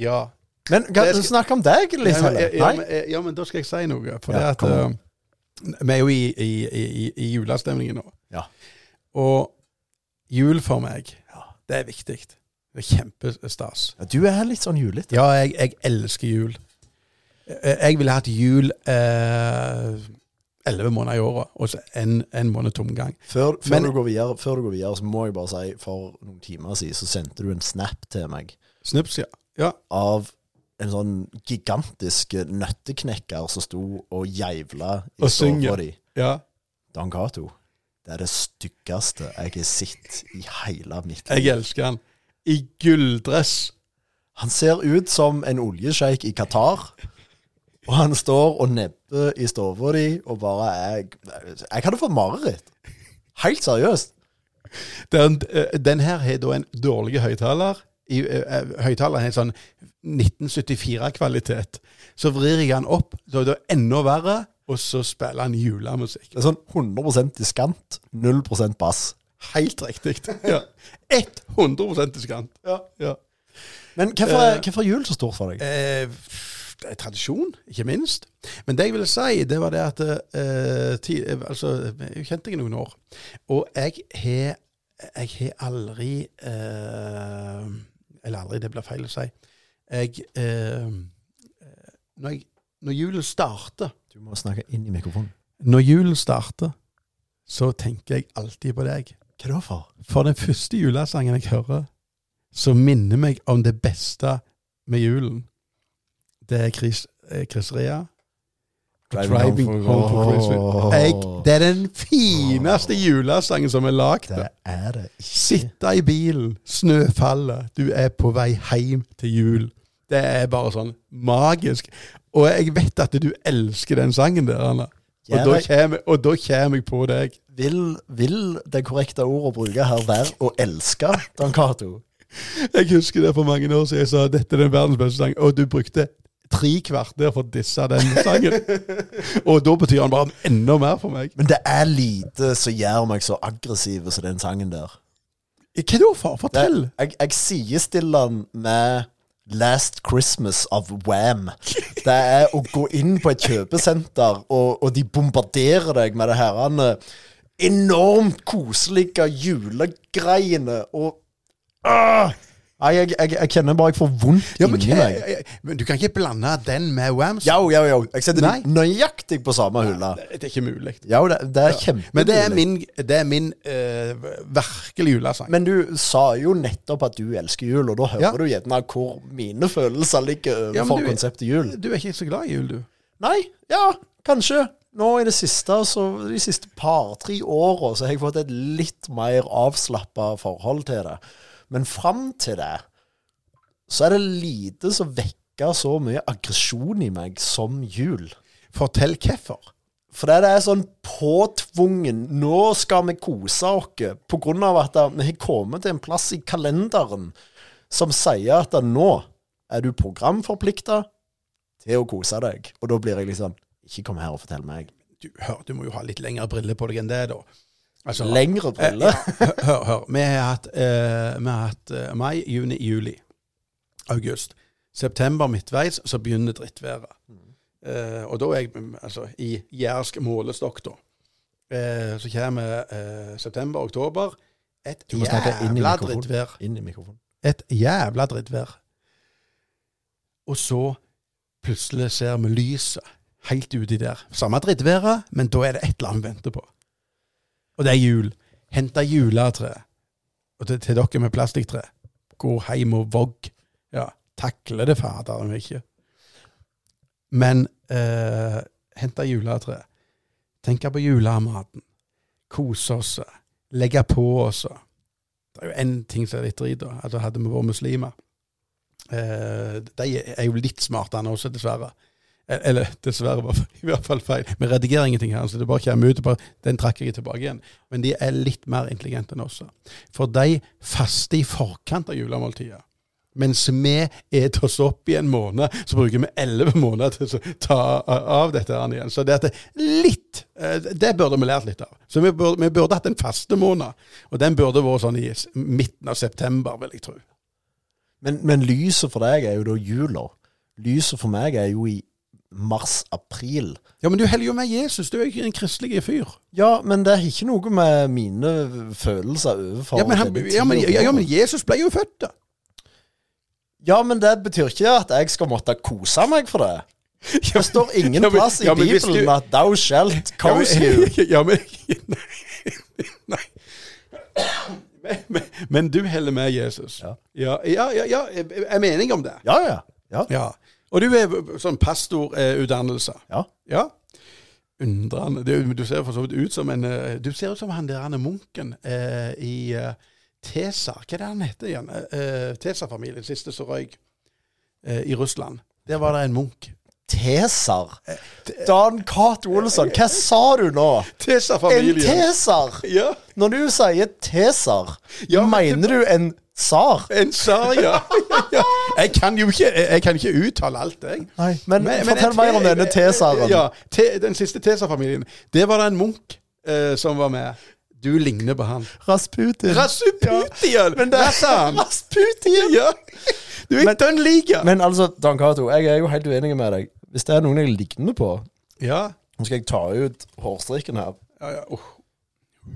Speaker 2: Ja.
Speaker 1: Men kan
Speaker 2: Det
Speaker 1: du
Speaker 2: skal-
Speaker 1: snakke om deg litt?
Speaker 2: ja, men,
Speaker 1: eller?
Speaker 2: ja, men, ja, men da skal jeg si noe. For
Speaker 1: Ja,
Speaker 2: det at,
Speaker 1: kom
Speaker 2: eh, vi er jo i, i, i, i julestemningen nå.
Speaker 1: Ja.
Speaker 2: Og jul for meg,
Speaker 1: Ja.
Speaker 2: det er viktig. Det er kjempestas.
Speaker 1: Ja, Du er litt sånn julete.
Speaker 2: Ja, jeg, jeg elsker jul. Jeg jeg ville hatt jul eh, elleve måneder i året, og så en, en måned tomgang.
Speaker 1: Før, før,
Speaker 2: Men-
Speaker 1: du går videre, før du går videre, så må jeg bare si for noen timer siden så sendte du en snap til meg
Speaker 2: Snips, ja. ja.
Speaker 1: av en sånn gigantisk nøtteknekker som sto og geivla i
Speaker 2: Og synger.
Speaker 1: stua di.
Speaker 2: ja.
Speaker 1: Dan Cato. Det er det styggeste jeg har sett i hele mitt liv.
Speaker 2: Jeg elsker han. I gulldress.
Speaker 1: Han ser ut som en oljesjeik i Qatar. Og han står og nebber i stua di og bare er Jeg hadde fått mareritt. Helt seriøst.
Speaker 2: Den, eh, den her har da en dårlig høyttaler. I, eh, eh, Høyttaleren har sånn 1974-kvalitet. Så vrir jeg den opp, så er det enda verre. og så spiller han julemusikk.
Speaker 1: Det er sånn 100 diskant, 0 bass.
Speaker 2: Helt riktig. Ja. 100 diskant. Ja. Ja.
Speaker 1: Men hvorfor er, hvorfor er jul så stort for deg?
Speaker 2: Eh, det er tradisjon, ikke minst. Men det jeg ville si, det var det at eh, ti, eh, altså, Jeg kjente deg i noen år, og jeg har jeg har aldri eh, Eller aldri, det blir feil å si. Jeg eh, når, jeg, når julen starter
Speaker 1: Du må snakke inn i mikrofonen.
Speaker 2: Når julen starter, så tenker jeg alltid på deg.
Speaker 1: Hva er det for?
Speaker 2: For den første julesangen jeg hører, som minner meg om det beste med julen, det er Chris, eh, Chris Rea. og
Speaker 1: Driving Home for- Åh.
Speaker 2: Jeg, det er den fineste julesangen som er lagd.
Speaker 1: Det er det ikke.
Speaker 2: Sitte i bilen, snøfallet, du er på vei hjem til jul. Det er bare sånn magisk. Og jeg vet at du elsker den sangen der, Anna. Og
Speaker 1: Ja,
Speaker 2: da
Speaker 1: jeg-
Speaker 2: kommer, og da kommer jeg på deg.
Speaker 1: Vil, vil det korrekte ordet å bruke her være å elske Dan Cato?
Speaker 2: Jeg husker det for mange år siden jeg sa dette er den verdens beste sang, og du brukte tre kvarter for å disse den sangen. og da betyr han bare enda mer for meg.
Speaker 1: Men det er lite som gjør meg så aggressiv som den sangen der.
Speaker 2: Hva da, far?
Speaker 1: Det,
Speaker 2: Fortell!
Speaker 1: jeg jeg sidestiller den med Last Christmas of Wham. Det er å gå inn på et kjøpesenter, og, og de bombarderer deg med det herrene enormt koselige julegreiene, og Ah! Nei, jeg, jeg, jeg kjenner bare jeg får vondt
Speaker 2: Ja, men,
Speaker 1: inni
Speaker 2: hva,
Speaker 1: meg.
Speaker 2: men du kan ikke blande den med Wams?
Speaker 1: Jo, jo, jo. Jeg setter
Speaker 2: Nei.
Speaker 1: det nøyaktig på samme hylle.
Speaker 2: Det er ikke mulig.
Speaker 1: Jo, det, det er kjempemulig.
Speaker 2: Men det er min, det er min eh, virkelig julesang.
Speaker 1: Men du sa jo nettopp at du elsker jul, og da hører
Speaker 2: Ja.
Speaker 1: du gjerne hvor mine følelser ligger
Speaker 2: Ja, men
Speaker 1: overfor
Speaker 2: du-
Speaker 1: konseptet jul.
Speaker 2: du er ikke så glad i jul, du.
Speaker 1: Nei, ja, kanskje. Nå i det siste, så de siste par-tre åra, så har jeg fått et litt mer avslappa forhold til det. Men fram til det, så er det lite som vekker så mye aggresjon i meg som jul.
Speaker 2: Fortell hvorfor.
Speaker 1: For det er sånn påtvungen Nå skal vi kose oss på grunn av at vi har kommet til en plass i kalenderen som sier at nå er du programforplikta til å kose deg. Og da blir jeg liksom Ikke kom her og fortell meg.
Speaker 2: Du, hør, du må jo ha litt lengre briller på deg enn det, da. Altså,
Speaker 1: Lengre briller.
Speaker 2: Hør, hør, hør. Vi har hatt, eh, vi har hatt eh, mai, juni, juli, august. September midtveis, så begynner drittværet. Eh, og da er jeg mm, altså, i jærsk målestokk, da. Eh, så kommer eh, september, oktober. Et
Speaker 1: Du må snakke inn i
Speaker 2: jævla
Speaker 1: mikrofonen.
Speaker 2: drittvær.
Speaker 1: Inn i mikrofonen.
Speaker 2: Et jævla drittvær. Og så plutselig ser vi lyset helt uti der. Samme drittværet, men da er det et eller annet vi venter på. Og det er jul. Hente juletre. Og til, til dere med plastikktre. Gå hjem og vogg. Ja, takle det fader om ikke. Men eh, hente juletre. Tenke på julematen. Kose oss. Legge på oss. Det er jo én ting som er litt drit, da. Altså, hadde vi vært muslimer eh, De er jo litt smartere enn oss, dessverre. Eh, Eller dessverre, var i hvert fall feil. Vi redigerer ingenting her, så det bare kommer ut. og bare- Den trakk jeg tilbake igjen. Men de er litt mer intelligente enn oss. For de faster i forkant av julemåltidet. Mens vi eter oss opp i en måned, så bruker vi elleve måneder til å ta av dette her igjen. Så det at det litt eh, Det burde vi lært litt av. Så vi burde, vi burde hatt en faste måned. Og den burde vært sånn i s- midten av september, vil jeg tro.
Speaker 1: Men, men lyset for deg er jo da jula. Lyset for meg er jo i mars-april.
Speaker 2: Ja, men du heller jo med Jesus. Du er jo ikke en kristelig fyr.
Speaker 1: Ja, men det er ikke noe med mine følelser overfor
Speaker 2: Ja, men, han,
Speaker 1: denne
Speaker 2: ja, men,
Speaker 1: tida.
Speaker 2: ja, men Jesus ble jo født, da.
Speaker 1: Ja, men det betyr ikke at jeg skal måtte kose meg for det. Det står ingen
Speaker 2: Ja, men-
Speaker 1: plass i
Speaker 2: ja, men hvis
Speaker 1: Bibelen
Speaker 2: du-
Speaker 1: at 'thou shalt cause
Speaker 2: ja,
Speaker 1: you'.
Speaker 2: men, ja, men, nei, nei. Men, men, men du heller med Jesus.
Speaker 1: Ja.
Speaker 2: ja, ja, ja, ja jeg, jeg mener ikke om det.
Speaker 1: Ja, ja. ja,
Speaker 2: Ja. Og du er sånn pastorutdannelse.
Speaker 1: ja.
Speaker 2: Ja. Undrende. Du, du ser for så vidt ut som en eh, Du ser ut som han der han er munken eh, i eh, Tesar. Hva er det han heter igjen? Eh, eh, Tesar-familien, siste som røyk eh, i Russland. Der var det en munk.
Speaker 1: Tesar. Dan Cato Olsson, hva sa du nå? En
Speaker 2: Tesar-familien!
Speaker 1: tesar!
Speaker 2: Ja.
Speaker 1: Når du sier tesar,
Speaker 2: Ja, men
Speaker 1: mener du en Tsar.
Speaker 2: En sar, ja. ja. Jeg kan jo ikke, jeg, jeg kan ikke uttale alt, jeg.
Speaker 1: Nei, men,
Speaker 2: Men- men
Speaker 1: fortell
Speaker 2: jeg-
Speaker 1: mer om denne tesaren.
Speaker 2: Ja, te, den siste tesarfamilien. Det var da en munk eh, som var med. Du ligner på han.
Speaker 1: Rasputin.
Speaker 2: Rasuputian!
Speaker 1: Men det er
Speaker 2: Rassan!
Speaker 1: Rasputin!
Speaker 2: Ja. Du er ikke en liga.
Speaker 1: Men altså, Dan Cato, jeg er jo helt uenig med deg. Hvis det er noen jeg ligner på
Speaker 2: Ja.
Speaker 1: Nå skal jeg ta ut hårstrikken her.
Speaker 2: Ja, ja. Oh.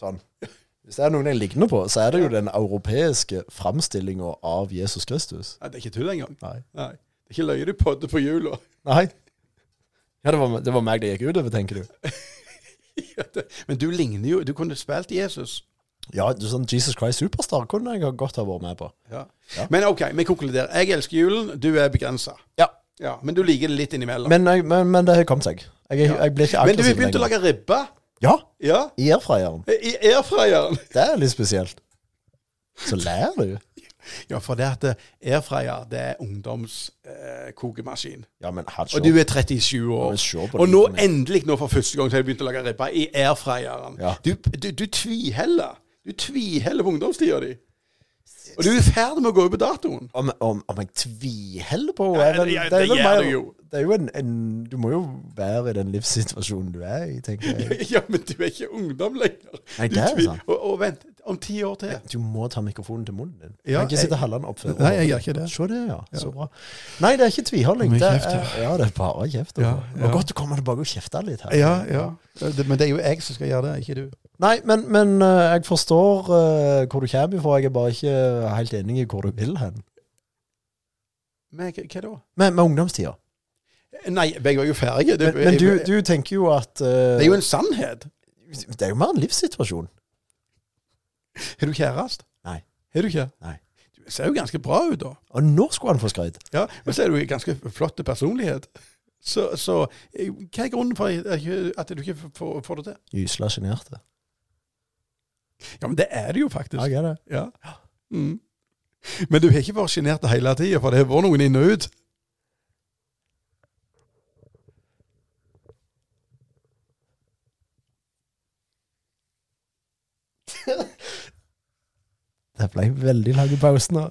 Speaker 1: Sånn. Hvis det er noen jeg ligner på, så er det jo den europeiske framstillinga av Jesus Kristus.
Speaker 2: Nei, det er ikke tull engang.
Speaker 1: Nei.
Speaker 2: Nei. Det er ikke løye du podder på jula.
Speaker 1: Nei. Ja, det var, det var meg det gikk utover, tenker du.
Speaker 2: Ja, det- Men du ligner jo. Du kunne spilt Jesus.
Speaker 1: Ja, du, sånn Jesus Christ Superstar kunne jeg godt ha vært med på.
Speaker 2: Ja.
Speaker 1: Ja.
Speaker 2: Men OK, vi konkluderer. Jeg elsker julen, du er begrensa.
Speaker 1: Ja.
Speaker 2: Ja, men du liker det litt innimellom. Men,
Speaker 1: Men, jeg, men, men det har kommet seg. Jeg, er- jeg blir ikke
Speaker 2: du har
Speaker 1: aggressiv
Speaker 2: begynt å lage ribbe.
Speaker 1: Ja,
Speaker 2: Ja.
Speaker 1: i airfryeren.
Speaker 2: I airfryeren.
Speaker 1: Det er litt spesielt. Så lærer du.
Speaker 2: Ja, for det at eh, airfryer, det er ungdomskokemaskin. Eh, kokemaskin.
Speaker 1: Ja, men her,
Speaker 2: og du er 37 år.
Speaker 1: Men se på
Speaker 2: Og nå
Speaker 1: lyden min.
Speaker 2: endelig, nå for første gang, så har jeg begynt å lage ribbe i airfryeren.
Speaker 1: Ja.
Speaker 2: Du, du, du tviheller. Du tviheller på ungdomstida di. Og du er i ferd med å gå ut på datoen.
Speaker 1: Om, om, om jeg tviholder på
Speaker 2: Ja,
Speaker 1: henne?
Speaker 2: ja,
Speaker 1: er
Speaker 2: det
Speaker 1: vel
Speaker 2: gjør
Speaker 1: mer-
Speaker 2: du jo.
Speaker 1: Det er jo en, en Du må jo være i den livssituasjonen du er i, tenker jeg.
Speaker 2: Ja, men du er ikke ungdom lenger.
Speaker 1: Nei,
Speaker 2: Du
Speaker 1: det er
Speaker 2: tvi-
Speaker 1: sant.
Speaker 2: Og, og vent, om ti år til.
Speaker 1: Du må ta mikrofonen til munnen din.
Speaker 2: Ja,
Speaker 1: Ja, ikke
Speaker 2: jeg-
Speaker 1: sitte halvannen opp før.
Speaker 2: Nei, jeg gjør ikke det.
Speaker 1: Se det, ja. Så bra. Nei, det er ikke tviholding.
Speaker 2: Mye
Speaker 1: Det
Speaker 2: kjeft,
Speaker 1: er, ja, det er bare kjeft.
Speaker 2: Ja,
Speaker 1: Ja,
Speaker 2: ja.
Speaker 1: Godt du kommer tilbake og kjefter litt her.
Speaker 2: Ja, ja. Men det er jo jeg som skal gjøre det, ikke du.
Speaker 1: Nei, men, men eh, jeg forstår eh, hvor du kommer ifra. Jeg er bare ikke helt enig i hvor du vil hen.
Speaker 2: Men hva- hva da?
Speaker 1: Med, med ungdomstida.
Speaker 2: Nei, jeg var jo ferdig. Det,
Speaker 1: Men, men du, du tenker jo at eh,
Speaker 2: det er jo en sannhet.
Speaker 1: det er jo mer en livssituasjon.
Speaker 2: Har du kjæreste?
Speaker 1: Nei.
Speaker 2: Har du ikke?
Speaker 1: Nei.
Speaker 2: Du ser jo ganske bra ut, da.
Speaker 1: Og nå skulle han få skryt.
Speaker 2: Ja, Men så er du en ganske flott personlighet. Så, så eh, hva er grunnen for at ikke- at du ikke f- får, får det til?
Speaker 1: Gysla sjenerte.
Speaker 2: Ja, men det er det jo faktisk.
Speaker 1: Ja, jeg er det.
Speaker 2: Ja. Mm. Men du har ikke vært sjenert hele tida, for det har vært noen inn og ut.
Speaker 1: Det ble veldig lang pause nå.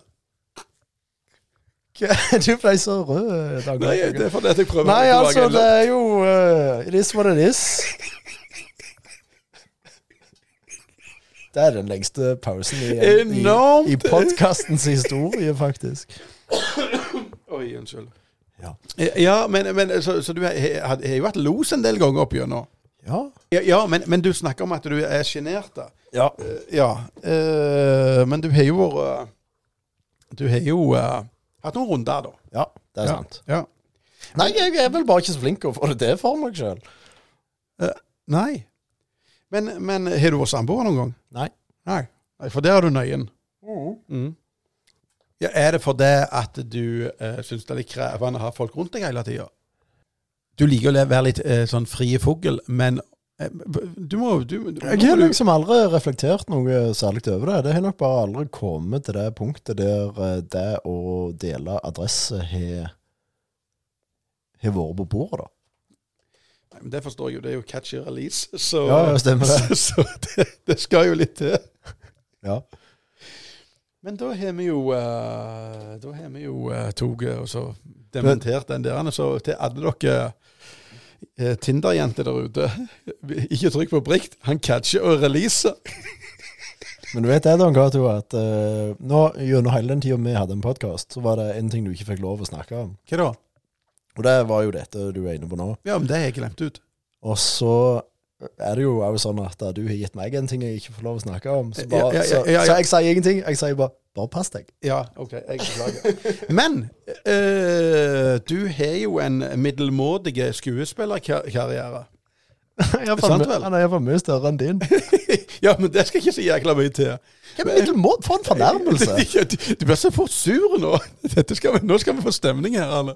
Speaker 1: Hva- Du ble så rød. Dag.
Speaker 2: Nei, det er fordi at jeg prøver
Speaker 1: Nei,
Speaker 2: å
Speaker 1: altså,
Speaker 2: lage en
Speaker 1: det er jo uh, It is what it is. Det er den lengste pausen i, i,
Speaker 2: Enormt!
Speaker 1: i podkastens historie, faktisk.
Speaker 2: Oi, unnskyld.
Speaker 1: Ja.
Speaker 2: Eh, Ja, men, men så, så du har har- har jo hatt los en del ganger opp gjennom.
Speaker 1: Ja.
Speaker 2: Ja, ja men, men du snakker om at du er sjenert, da.
Speaker 1: ja.
Speaker 2: Eh, Ja, eh, men du har jo vært eh, Du har jo eh, hatt noen runder, da.
Speaker 1: det er sant.
Speaker 2: Ja.
Speaker 1: Nei, jeg er vel bare ikke så flink til å få det til for meg sjøl.
Speaker 2: Eh, Nei. Men, men har du vært samboer noen gang?
Speaker 1: Nei.
Speaker 2: Nei. Nei, For der har du nøyen. Mm. Ja, er det fordi at du eh, syns det er litt krevende å ha folk rundt deg hele tida? Du liker å le- være litt eh, sånn frie fugl, men eh, b- du må du, du,
Speaker 1: Jeg har
Speaker 2: må du-
Speaker 1: liksom aldri reflektert noe særlig over det. Det har nok bare aldri kommet til det punktet der eh, det å dele adresse har har vært på bordet, da.
Speaker 2: Nei, men Det forstår jeg jo, det er jo catch and release, så,
Speaker 1: Ja, ja, stemmer
Speaker 2: så,
Speaker 1: det.
Speaker 2: så det, det skal jo litt til.
Speaker 1: Ja.
Speaker 2: Men da har vi jo eh, Da har vi jo eh, toget og så dementert den der. Så til alle dere eh, Tinder-jenter der ute, ikke trykk på brikt. Han catcher og releaser.
Speaker 1: Men du vet det, Don Cato, at eh, nå, gjennom hele den tida vi hadde en podkast, så var det en ting du ikke fikk lov å snakke om.
Speaker 2: Hva da?
Speaker 1: Og det var jo dette du er inne på nå.
Speaker 2: Ja, men det har jeg glemt ut.
Speaker 1: Og så er det jo også sånn at da du har gitt meg en ting jeg ikke får lov å snakke om. Så, bare,
Speaker 2: Ja, ja, ja,
Speaker 1: så,
Speaker 2: ja, ja.
Speaker 1: så jeg sier ingenting. Jeg sier bare 'bare pass deg'.
Speaker 2: Ja, OK, jeg beklager. Men eh, du har jo en middelmådig skuespillerkarriere.
Speaker 1: Jeg
Speaker 2: faen meg-
Speaker 1: Han er iallfall mye større enn din.
Speaker 2: Ja, men det skal ikke så jækla mye til.
Speaker 1: Hvem er middelmådig? For en fornærmelse!
Speaker 2: Du, du blir så fort sur nå. Dette skal vi, nå skal vi få stemning her, Arne.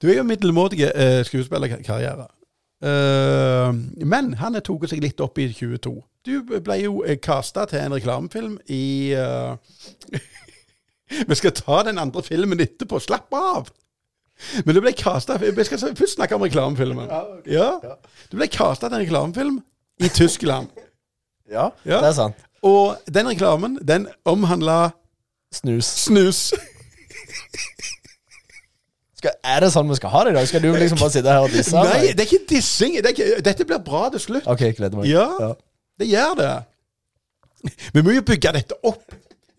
Speaker 2: Du er jo middelmådig eh, skuespillerkarriere. Eh, men han har tatt seg litt opp i 22. Du ble jo eh, kasta til en reklamefilm i eh, Vi skal ta den andre filmen etterpå. Slapp av! Men du ble kasta Vi skal først snakke om reklamefilmen. Ja. Du ble kasta til en reklamefilm i Tyskland.
Speaker 1: Ja,
Speaker 2: Ja.
Speaker 1: det er sant.
Speaker 2: Og den reklamen, den omhandla
Speaker 1: Snus.
Speaker 2: snus.
Speaker 1: Skal, er det sånn vi skal ha det i dag? Skal du liksom bare sitte her og disse?
Speaker 2: Nei, det er ikke dissing. Det er ikke, dette blir bra til slutt.
Speaker 1: OK, gleder meg.
Speaker 2: Ja. Det gjør det. Vi må jo bygge dette opp.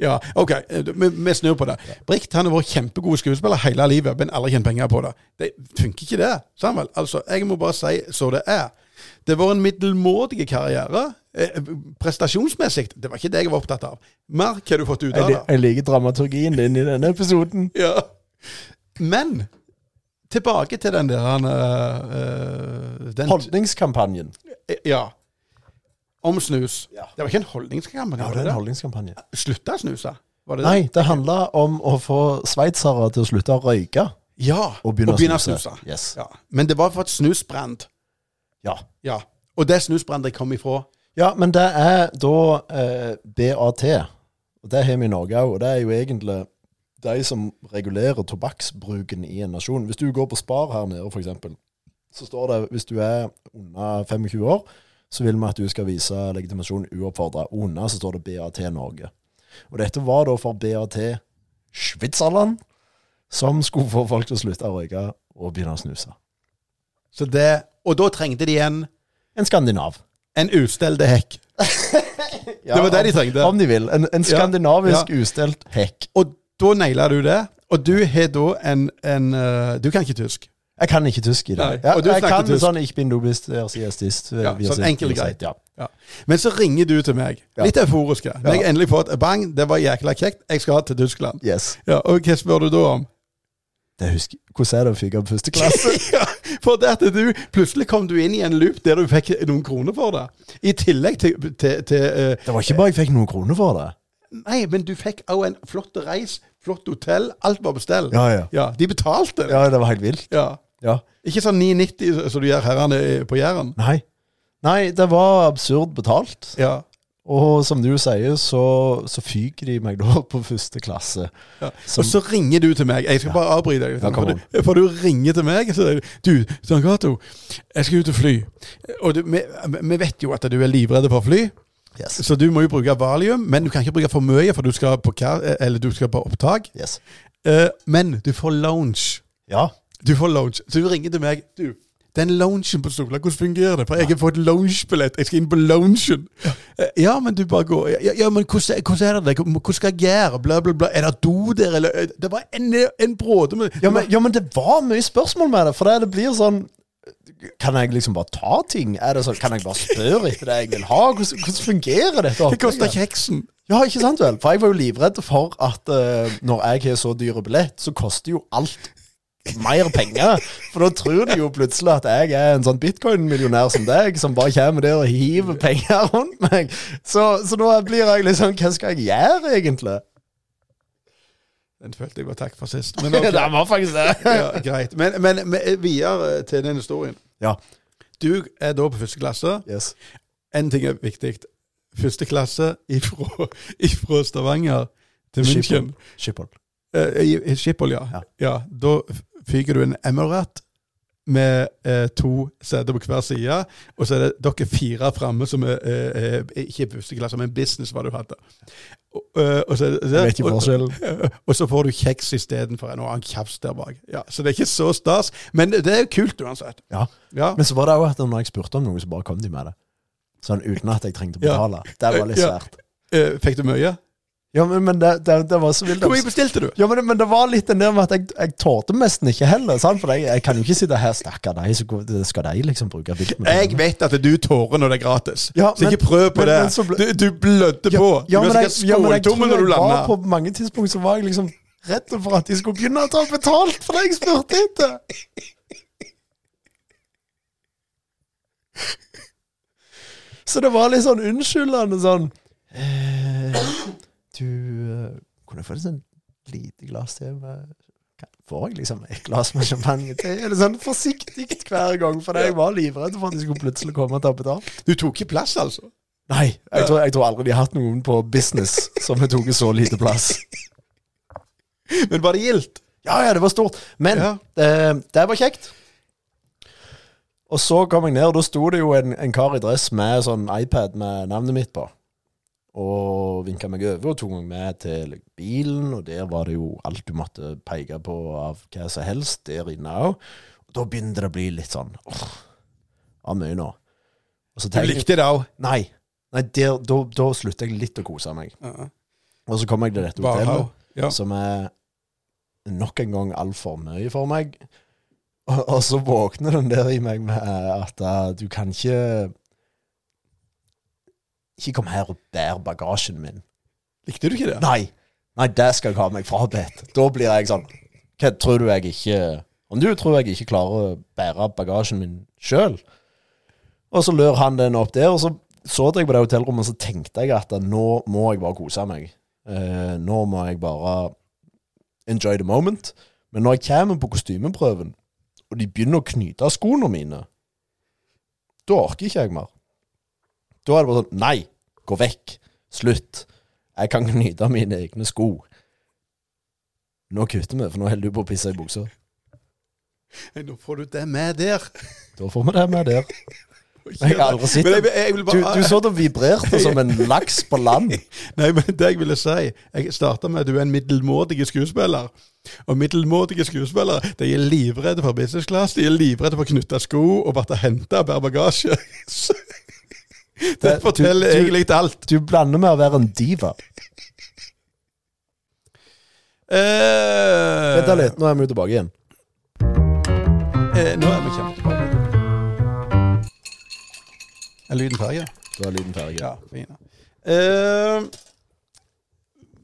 Speaker 2: Ja, OK, vi, vi snur på det. Brikt han har vært kjempegod skuespiller hele livet, men aldri tjent penger på det. Det funker ikke, det. Samuel. Altså, jeg må bare si så det er. Det var en middelmådig karriere. Eh, prestasjonsmessig, det var ikke det jeg var opptatt av. Mer hva du har fått ut
Speaker 1: Jeg,
Speaker 2: av
Speaker 1: li-
Speaker 2: det.
Speaker 1: jeg liker dramaturgien din i denne episoden.
Speaker 2: Ja. Men tilbake til den der han, eh, eh, den,
Speaker 1: Holdningskampanjen.
Speaker 2: Eh, Ja. Om snus.
Speaker 1: Ja.
Speaker 2: Det var ikke en holdningskampanje?
Speaker 1: Ja,
Speaker 2: var
Speaker 1: det er
Speaker 2: det?
Speaker 1: en holdningskampanje.
Speaker 2: Slutta å snuse? Var det det?
Speaker 1: Nei, det handla om å få sveitsere til å slutte å røyke
Speaker 2: Ja,
Speaker 1: og begynne,
Speaker 2: å snuse.
Speaker 1: Yes.
Speaker 2: Ja. Men det var for et snusbrand.
Speaker 1: Ja.
Speaker 2: Ja. Og det snusbrandet kom ifra
Speaker 1: Ja, men det er da eh, BAT. Og det har vi i Norge òg. Og det er jo egentlig de som regulerer tobakksbruken i en nasjon. Hvis du går på Spar her nede, f.eks., så står det hvis du er under 25 år, så vil vi at du skal vise legitimasjon uoppfordra. Under så står det BAT Norge. Og dette var da for BAT Schwitzerland, som skulle få folk til å slutte å røyke og begynne å snuse.
Speaker 2: Så det, Og da trengte de en,
Speaker 1: En skandinav.
Speaker 2: en ustelde hekk.
Speaker 1: Ja,
Speaker 2: Det var det de
Speaker 1: om-
Speaker 2: trengte.
Speaker 1: Om de vil. En, en skandinavisk ustelt hekk.
Speaker 2: Og da naila du det. Og du har da en, en eh, Du kan ikke tysk.
Speaker 1: Jeg kan ikke tysk i det.
Speaker 2: Nei,
Speaker 1: Ja,
Speaker 2: og du
Speaker 1: jeg
Speaker 2: snakker
Speaker 1: kan
Speaker 2: tysk.
Speaker 1: sånn ich bin du bist, er sie ist ist.
Speaker 2: Ja,
Speaker 1: wir
Speaker 2: sånn
Speaker 1: sind,
Speaker 2: enkelt
Speaker 1: wir
Speaker 2: greit.
Speaker 1: sind, Ja.
Speaker 2: Ja. Men så ringer du til meg,
Speaker 1: Ja.
Speaker 2: litt euforisk. Når jeg endelig får et bang, det var jækla kjekt, jeg skal til Tyskland.
Speaker 1: Yes.
Speaker 2: Ja, Og hva spør du da om?
Speaker 1: Det husker, hvordan er det å fyke opp første klasse?
Speaker 2: ja, for det at du plutselig kom du inn i en loop der du fikk noen kroner for det. I tillegg til, til, til eh,
Speaker 1: Det var ikke bare jeg fikk noen kroner for det.
Speaker 2: Nei, men du fikk òg en flott reis, flott hotell, alt var på stell.
Speaker 1: Ja, ja.
Speaker 2: de betalte.
Speaker 1: Ja, det var helt vilt.
Speaker 2: Ja.
Speaker 1: Ja.
Speaker 2: Ikke sånn 9,90 som du gjør herrene på Jæren.
Speaker 1: Nei. Nei, det var absurd betalt.
Speaker 2: Ja.
Speaker 1: Og som du sier, så, så fyker de meg da på første klasse.
Speaker 2: Ja.
Speaker 1: Som-
Speaker 2: og så ringer du til meg. Jeg skal bare avbryte deg.
Speaker 1: Ja,
Speaker 2: for,
Speaker 1: come
Speaker 2: du, for du ringer til meg og sier du, du, Sangato, jeg skal ut og fly. Og du, vi, vi vet jo at du er livredd for fly.
Speaker 1: Yes.
Speaker 2: Så du må jo bruke valium, men du kan ikke bruke for mye, for du skal på, ka- eller du skal på opptak.
Speaker 1: yes.
Speaker 2: Eh, men du får lounge.
Speaker 1: Ja.
Speaker 2: Du får lounge. Så du ringer til meg. Du, den loungen på Sola, hvordan fungerer det? For jeg har fått loungebillett. Jeg skal inn på loungen. Eh, ja, men du bare går. Ja, ja men hvordan, hvordan er det? Hvordan skal jeg gjøre? Bla, bla, bla. Er det do der, eller? eh, Det var en, en bråte med
Speaker 1: Ja men, ja, men det var mye spørsmål med det, for det, det blir sånn Kan jeg liksom bare ta ting? Er det sånn, Kan jeg bare spørre etter det jeg vil ha? Hvordan, hvordan fungerer dette?
Speaker 2: Det koster kjeksen.
Speaker 1: Ja, ikke sant vel? For jeg var jo livredd for at eh, når jeg har så dyre billett, så koster jo alt mer penger. For da tror de jo plutselig at jeg er en sånn bitcoin-millionær som deg, som bare kommer der og hiver penger rundt meg. Så, så da blir jeg liksom Hva skal jeg gjøre, egentlig?
Speaker 2: Den følte jeg var takk for sist. Men,
Speaker 1: Det
Speaker 2: ok.
Speaker 1: var faktisk det.
Speaker 2: ja, greit. men, men, men videre til den historien.
Speaker 1: Ja.
Speaker 2: Du er da på første klasse.
Speaker 1: Yes.
Speaker 2: En ting er viktig. Første klasse ifra, ifra Stavanger til München.
Speaker 1: Schiphol.
Speaker 2: Eh, i- i Schiphol, ja.
Speaker 1: Ja.
Speaker 2: ja. Da f- fyker du en Emirat med eh, to seter på hver side, og så er det dere fire framme som er eh, eh, ikke første klasse, men business, hva du hadde. Og, eh, og, så, så,
Speaker 1: Jeg vet ikke
Speaker 2: og- eh,
Speaker 1: forskjellen.
Speaker 2: og så får du kjeks istedenfor en annen kjaps der bak. Ja, så det er ikke så stas, men det er jo kult uansett.
Speaker 1: Ja.
Speaker 2: Ja.
Speaker 1: Men så var det òg at når jeg spurte om noe, så bare kom de med det. Sånn uten at jeg trengte å
Speaker 2: Ja.
Speaker 1: betale. Det var litt
Speaker 2: Ja.
Speaker 1: svært.
Speaker 2: Eh, fikk du mye?
Speaker 1: Ja, men, men det, det, det var så vilt.
Speaker 2: Hvor mye bestilte du?
Speaker 1: Ja, men, men det var litt den der med at jeg, jeg tålte nesten ikke heller. Sant? For jeg, jeg kan jo ikke sitte her stakkar deg, så går- skal de liksom bruke bilt med
Speaker 2: Jeg vet at du tårer når det er gratis,
Speaker 1: Ja,
Speaker 2: så ikke
Speaker 1: men-
Speaker 2: prøv på
Speaker 1: men-
Speaker 2: det.
Speaker 1: men så ble-
Speaker 2: du, du blødde på.
Speaker 1: ja,
Speaker 2: du
Speaker 1: men
Speaker 2: var
Speaker 1: jeg,
Speaker 2: sikkert
Speaker 1: ja, men jeg tror
Speaker 2: skåltomme når du
Speaker 1: jeg
Speaker 2: landa.
Speaker 1: var på mange tidspunkt så var jeg liksom redd for at de skulle begynne å ta betalt for det jeg spurte etter. Så det var litt sånn unnskyldende sånn eh, Du eh, kunne jeg få et sånn lite glass til med Kan- Får jeg liksom et glass med champagne til? Eller sånn forsiktig hver gang, for jeg var livredd for at de skulle plutselig komme og ta betalt.
Speaker 2: Du tok ikke plass, altså?
Speaker 1: Nei, jeg tror, jeg tror aldri de har hatt noen på business som har tatt så lite plass.
Speaker 2: Men var det gildt?
Speaker 1: Ja, ja, det var stort. Men
Speaker 2: Ja.
Speaker 1: eh, det var kjekt. Og så kom jeg ned, og da sto det jo en, en kar i dress med sånn iPad med navnet mitt på. Og vinka meg over og tok meg med til bilen, og der var det jo alt du måtte peke på av hva som helst, der inne òg. Da begynte det å bli litt sånn åh, av mye nå. Og så
Speaker 2: Du
Speaker 1: tenker jeg-
Speaker 2: likte det òg.
Speaker 1: Nei. Nei der, da, da slutter jeg litt å kose meg. Og så kommer jeg til dette hotellet,
Speaker 2: Ja.
Speaker 1: som er nok en gang altfor mye for meg. Og, og så våkner den der i meg med at eh, du kan ikke Ikke komme her og bære bagasjen min.
Speaker 2: Likte du ikke det?
Speaker 1: Nei! Nei, det skal jeg ha meg frabedt. Da blir jeg sånn Hva tror du jeg ikke Om du tror jeg ikke klarer å bære bagasjen min sjøl? Og så lører han den opp der, og så så jeg på det hotellrommet, og så tenkte jeg at nå må jeg bare kose meg. Eh, nå må jeg bare enjoy the moment. Men når jeg kommer på kostymeprøven, og de begynner å knyte skoene mine, da orker ikke jeg mer. Da er det bare sånn Nei! Gå vekk! Slutt! Jeg kan knyte mine egne sko. Nå kutter vi, for nå holder du på å pisse i buksa.
Speaker 2: Nå får du det med der.
Speaker 1: Da får vi det med der. Jeg har aldri sett
Speaker 2: Men
Speaker 1: det.
Speaker 2: jeg, jeg vil
Speaker 1: Du,
Speaker 2: bare,
Speaker 1: du så det vibrerte som en laks på land.
Speaker 2: Nei, men det jeg ville si Jeg starta med at du er en middelmådig skuespiller. Og middelmådige skuespillere de er livredde for business class, de er livredde for å knytte sko og bare hente og bære bagasje. Så- Det
Speaker 1: Det- du-
Speaker 2: forteller
Speaker 1: du-
Speaker 2: egentlig alt.
Speaker 1: Du blander med å være en diva.
Speaker 2: Eh,
Speaker 1: Vent da litt, nå er vi jo tilbake igjen.
Speaker 2: eh, nå er vi kjempetilbake. Er lyden ferdig?
Speaker 1: Da er lyden ferdig.
Speaker 2: Ja, fin. Eh,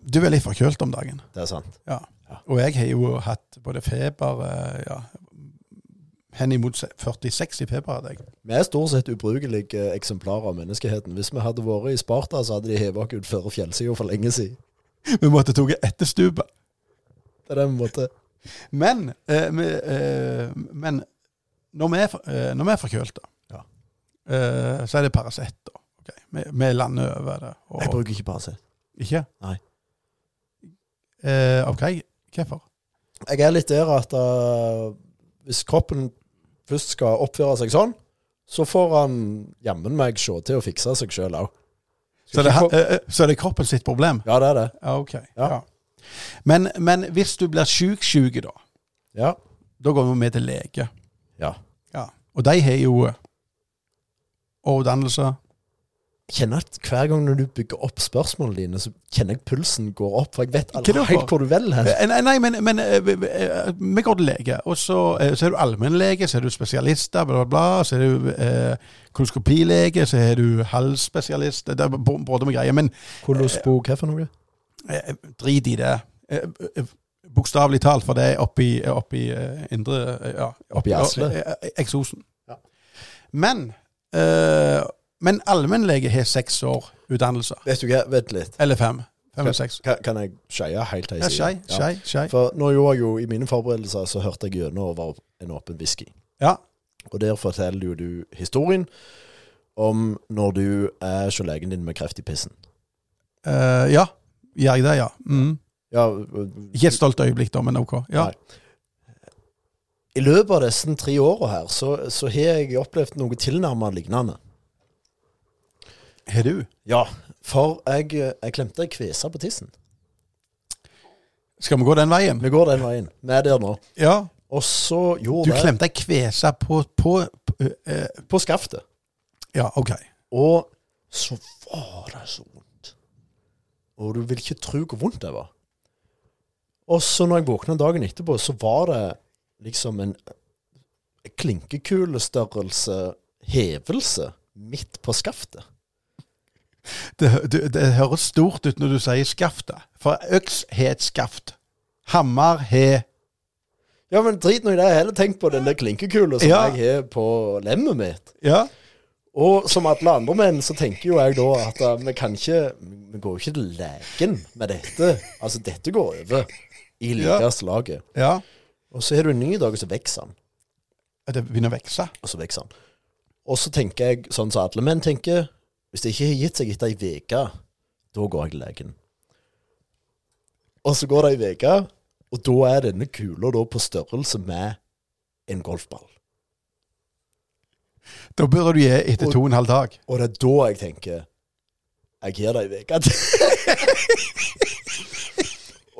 Speaker 2: du er litt forkjølt om dagen.
Speaker 1: Det er sant.
Speaker 2: Ja.
Speaker 1: Ja.
Speaker 2: Og jeg har jo hatt både feber eh, ja, Henimot se- 46 i feber hadde jeg.
Speaker 1: Vi er stort sett ubrukelige eksemplarer av menneskeheten. Hvis vi hadde vært i Sparta, så hadde de hevet oss ut før fjellsida for lenge siden.
Speaker 2: Vi måtte ta etter stupet.
Speaker 1: Det er den måten.
Speaker 2: Men, eh, vi, eh, men når, vi er, for- eh, når vi er forkjølte,
Speaker 1: Ja.
Speaker 2: eh, så er det Paracet. da. Ok, Vi, vi lander over det. og-
Speaker 1: Jeg bruker ikke Paracet.
Speaker 2: ikke?
Speaker 1: Nei.
Speaker 2: Eh, OK, hvorfor?
Speaker 1: Jeg er litt der at eh, hvis kroppen først skal oppføre seg sånn, så får han jammen meg se til å fikse seg sjøl òg.
Speaker 2: Så det, eh, eh, så det er kroppen sitt problem?
Speaker 1: Ja, det er det.
Speaker 2: Ja, OK. Ja.
Speaker 1: Ja.
Speaker 2: Men, men hvis du blir sjuk-sjuk, da,
Speaker 1: Ja.
Speaker 2: da går vi med til lege.
Speaker 1: ja.
Speaker 2: Ja. Og de har jo eh, overdannelse.
Speaker 1: Jeg kjenner at Hver gang når du bygger opp spørsmålene dine, så kjenner jeg pulsen går opp. For jeg vet
Speaker 2: Hva er
Speaker 1: aldri
Speaker 2: det for?
Speaker 1: helt hvor du vil hen.
Speaker 2: Eh, Nei, nei, men, men eh, vi- vi eh, vi går til lege, og så, eh, så er du allmennlege, så er du spesialister, bla, bla, bla. Så er du eh, koloskopilege, så er du halsspesialist. Det er b- både med greier. Men
Speaker 1: Kolosbo, hva for noe?
Speaker 2: eh, drit i det. Eh, eh, Bokstavelig talt, for det er oppi, oppi eh, indre eh, ja,
Speaker 1: Oppi arslet.
Speaker 2: eh, eh, Eksosen.
Speaker 1: Ja.
Speaker 2: Men, eh, men allmennlege har seks år utdannelse.
Speaker 1: Vet du hva, vent litt.
Speaker 2: Eller fem. Fem eller seks.
Speaker 1: Kan, kan jeg skeie helt til
Speaker 2: Ja,
Speaker 1: jeg
Speaker 2: skei,
Speaker 1: Ja.
Speaker 2: skei, skei.
Speaker 1: For nå gjorde jeg jo, i mine forberedelser så hørte jeg gjennom over en åpen whisky.
Speaker 2: Ja.
Speaker 1: Og der forteller jo du historien om når du er hos legen din med kreft i pissen.
Speaker 2: Eh, ja. Gjør jeg det, ja. Mm.
Speaker 1: Ja,
Speaker 2: Ikke et stolt øyeblikk, da, men OK. Ja.
Speaker 1: Nei. I løpet av disse tre åra her, så, så har jeg opplevd noe tilnærmet lignende.
Speaker 2: Har du?
Speaker 1: Ja, for jeg, jeg klemte ei kvese på tissen.
Speaker 2: Skal vi gå den veien?
Speaker 1: Vi går den veien. Vi er der nå.
Speaker 2: Ja.
Speaker 1: Og så
Speaker 2: Du
Speaker 1: gjorde jeg
Speaker 2: klemte ei kvese på, på, på eh,
Speaker 1: på skaftet.
Speaker 2: Ja, OK.
Speaker 1: Og så var det så vondt. Og du vil ikke tro hvor vondt det var. Og så når jeg våkna dagen etterpå, så var det liksom en klinkekulestørrelse hevelse midt på skaftet.
Speaker 2: Det, det, det høres stort ut når du sier skaftet. For øks har et skaft. Hammer har
Speaker 1: Ja, men drit nå i det. Jeg har heller tenkt på den der klinkekula som
Speaker 2: Ja.
Speaker 1: jeg har på lemmet mitt.
Speaker 2: Ja.
Speaker 1: Og som alle andre menn, så tenker jo jeg da at eh, vi kan ikke Vi går jo ikke til legen med dette. Altså, dette går over i
Speaker 2: Ja.
Speaker 1: likeste laget.
Speaker 2: ja.
Speaker 1: Og så har du en ny dag, og så vokser han.
Speaker 2: Det begynner å vokse.
Speaker 1: Og så vokser han. Og så tenker jeg sånn som alle menn tenker. Hvis det ikke har gitt seg etter ei uke, da går jeg til legen. Og så går det ei uke, og da er denne kula da på størrelse med en golfball.
Speaker 2: Da bør du gi etter to og en halv dag.
Speaker 1: Og det er da jeg tenker Jeg gir deg ei uke til.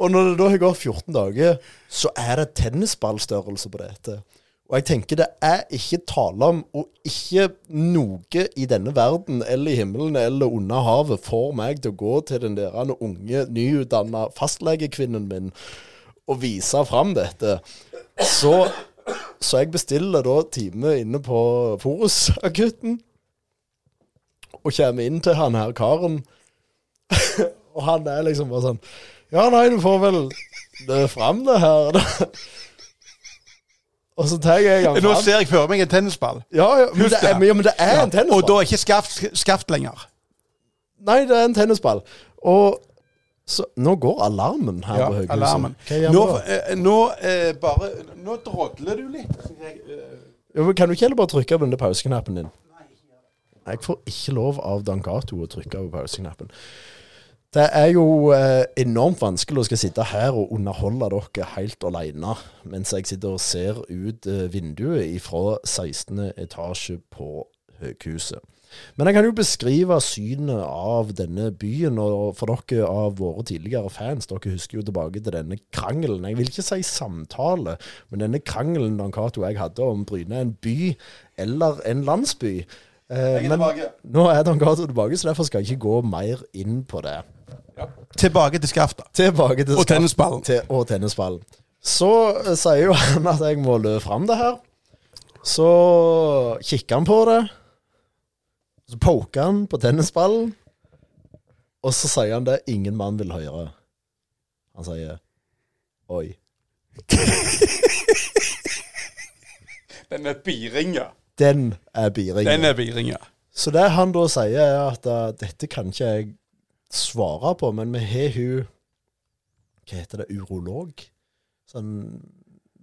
Speaker 1: Og når det da har gått 14 dager, så er det tennisballstørrelse på dette. Og jeg tenker det er ikke tale om, og ikke noe i denne verden eller i himmelen eller under havet får meg til å gå til den der unge, nyutdanna fastlegekvinnen min og vise fram dette. Så, så jeg bestiller da time inne på Forusakutten og kommer inn til han her karen. og han er liksom bare sånn Ja, nei, du får vel det fram, det her. da. og så tar jeg han
Speaker 2: Nå
Speaker 1: fram.
Speaker 2: ser jeg for meg en tennisball.
Speaker 1: Ja, ja, men
Speaker 2: Husk
Speaker 1: det er,
Speaker 2: det.
Speaker 1: ja, men det er en tennisball.
Speaker 2: Og da er ikke skaft, skaft lenger.
Speaker 1: Nei, det er en tennisball. Og så, nå går alarmen her
Speaker 2: Ja,
Speaker 1: på Høghuset.
Speaker 2: alarmen.
Speaker 1: Hva gjør vi
Speaker 2: Nå,
Speaker 1: da?
Speaker 2: eh, nå eh, bare Nå drodler du litt. så jeg, eh,
Speaker 1: Ja, men kan du ikke heller bare trykke på den der pauseknappen din? Jeg får ikke lov av Dan Cato å trykke på pauseknappen. Det er jo eh, enormt vanskelig å skal sitte her og underholde dere helt alene mens jeg sitter og ser ut eh, vinduet fra 16. etasje på Høghuset. Men jeg kan jo beskrive synet av denne byen, og for dere av våre tidligere fans, dere husker jo tilbake til denne krangelen. Jeg vil ikke si samtale, men denne krangelen Dan Cato og jeg hadde om Bryne er en by eller en landsby. Eh,
Speaker 2: Jeg er
Speaker 1: men
Speaker 2: tilbake.
Speaker 1: nå er Dan Cato tilbake, så derfor skal jeg ikke gå mer inn på det.
Speaker 2: Tilbake til skaftet.
Speaker 1: Tilbake til
Speaker 2: Og tennisballen.
Speaker 1: Til, og tennisballen. Så eh, sier jo han at jeg må løpe fram det her. Så kikker han på det. Så poker han på tennisballen. Og så sier han det ingen mann vil høre. Han sier oi.
Speaker 2: Den er biringa.
Speaker 1: Den er biringen.
Speaker 2: Den er biringa.
Speaker 1: Så det han da sier, er at eh, dette kan ikke jeg svare på, men vi har hun Hva heter det? Urolog? Sånn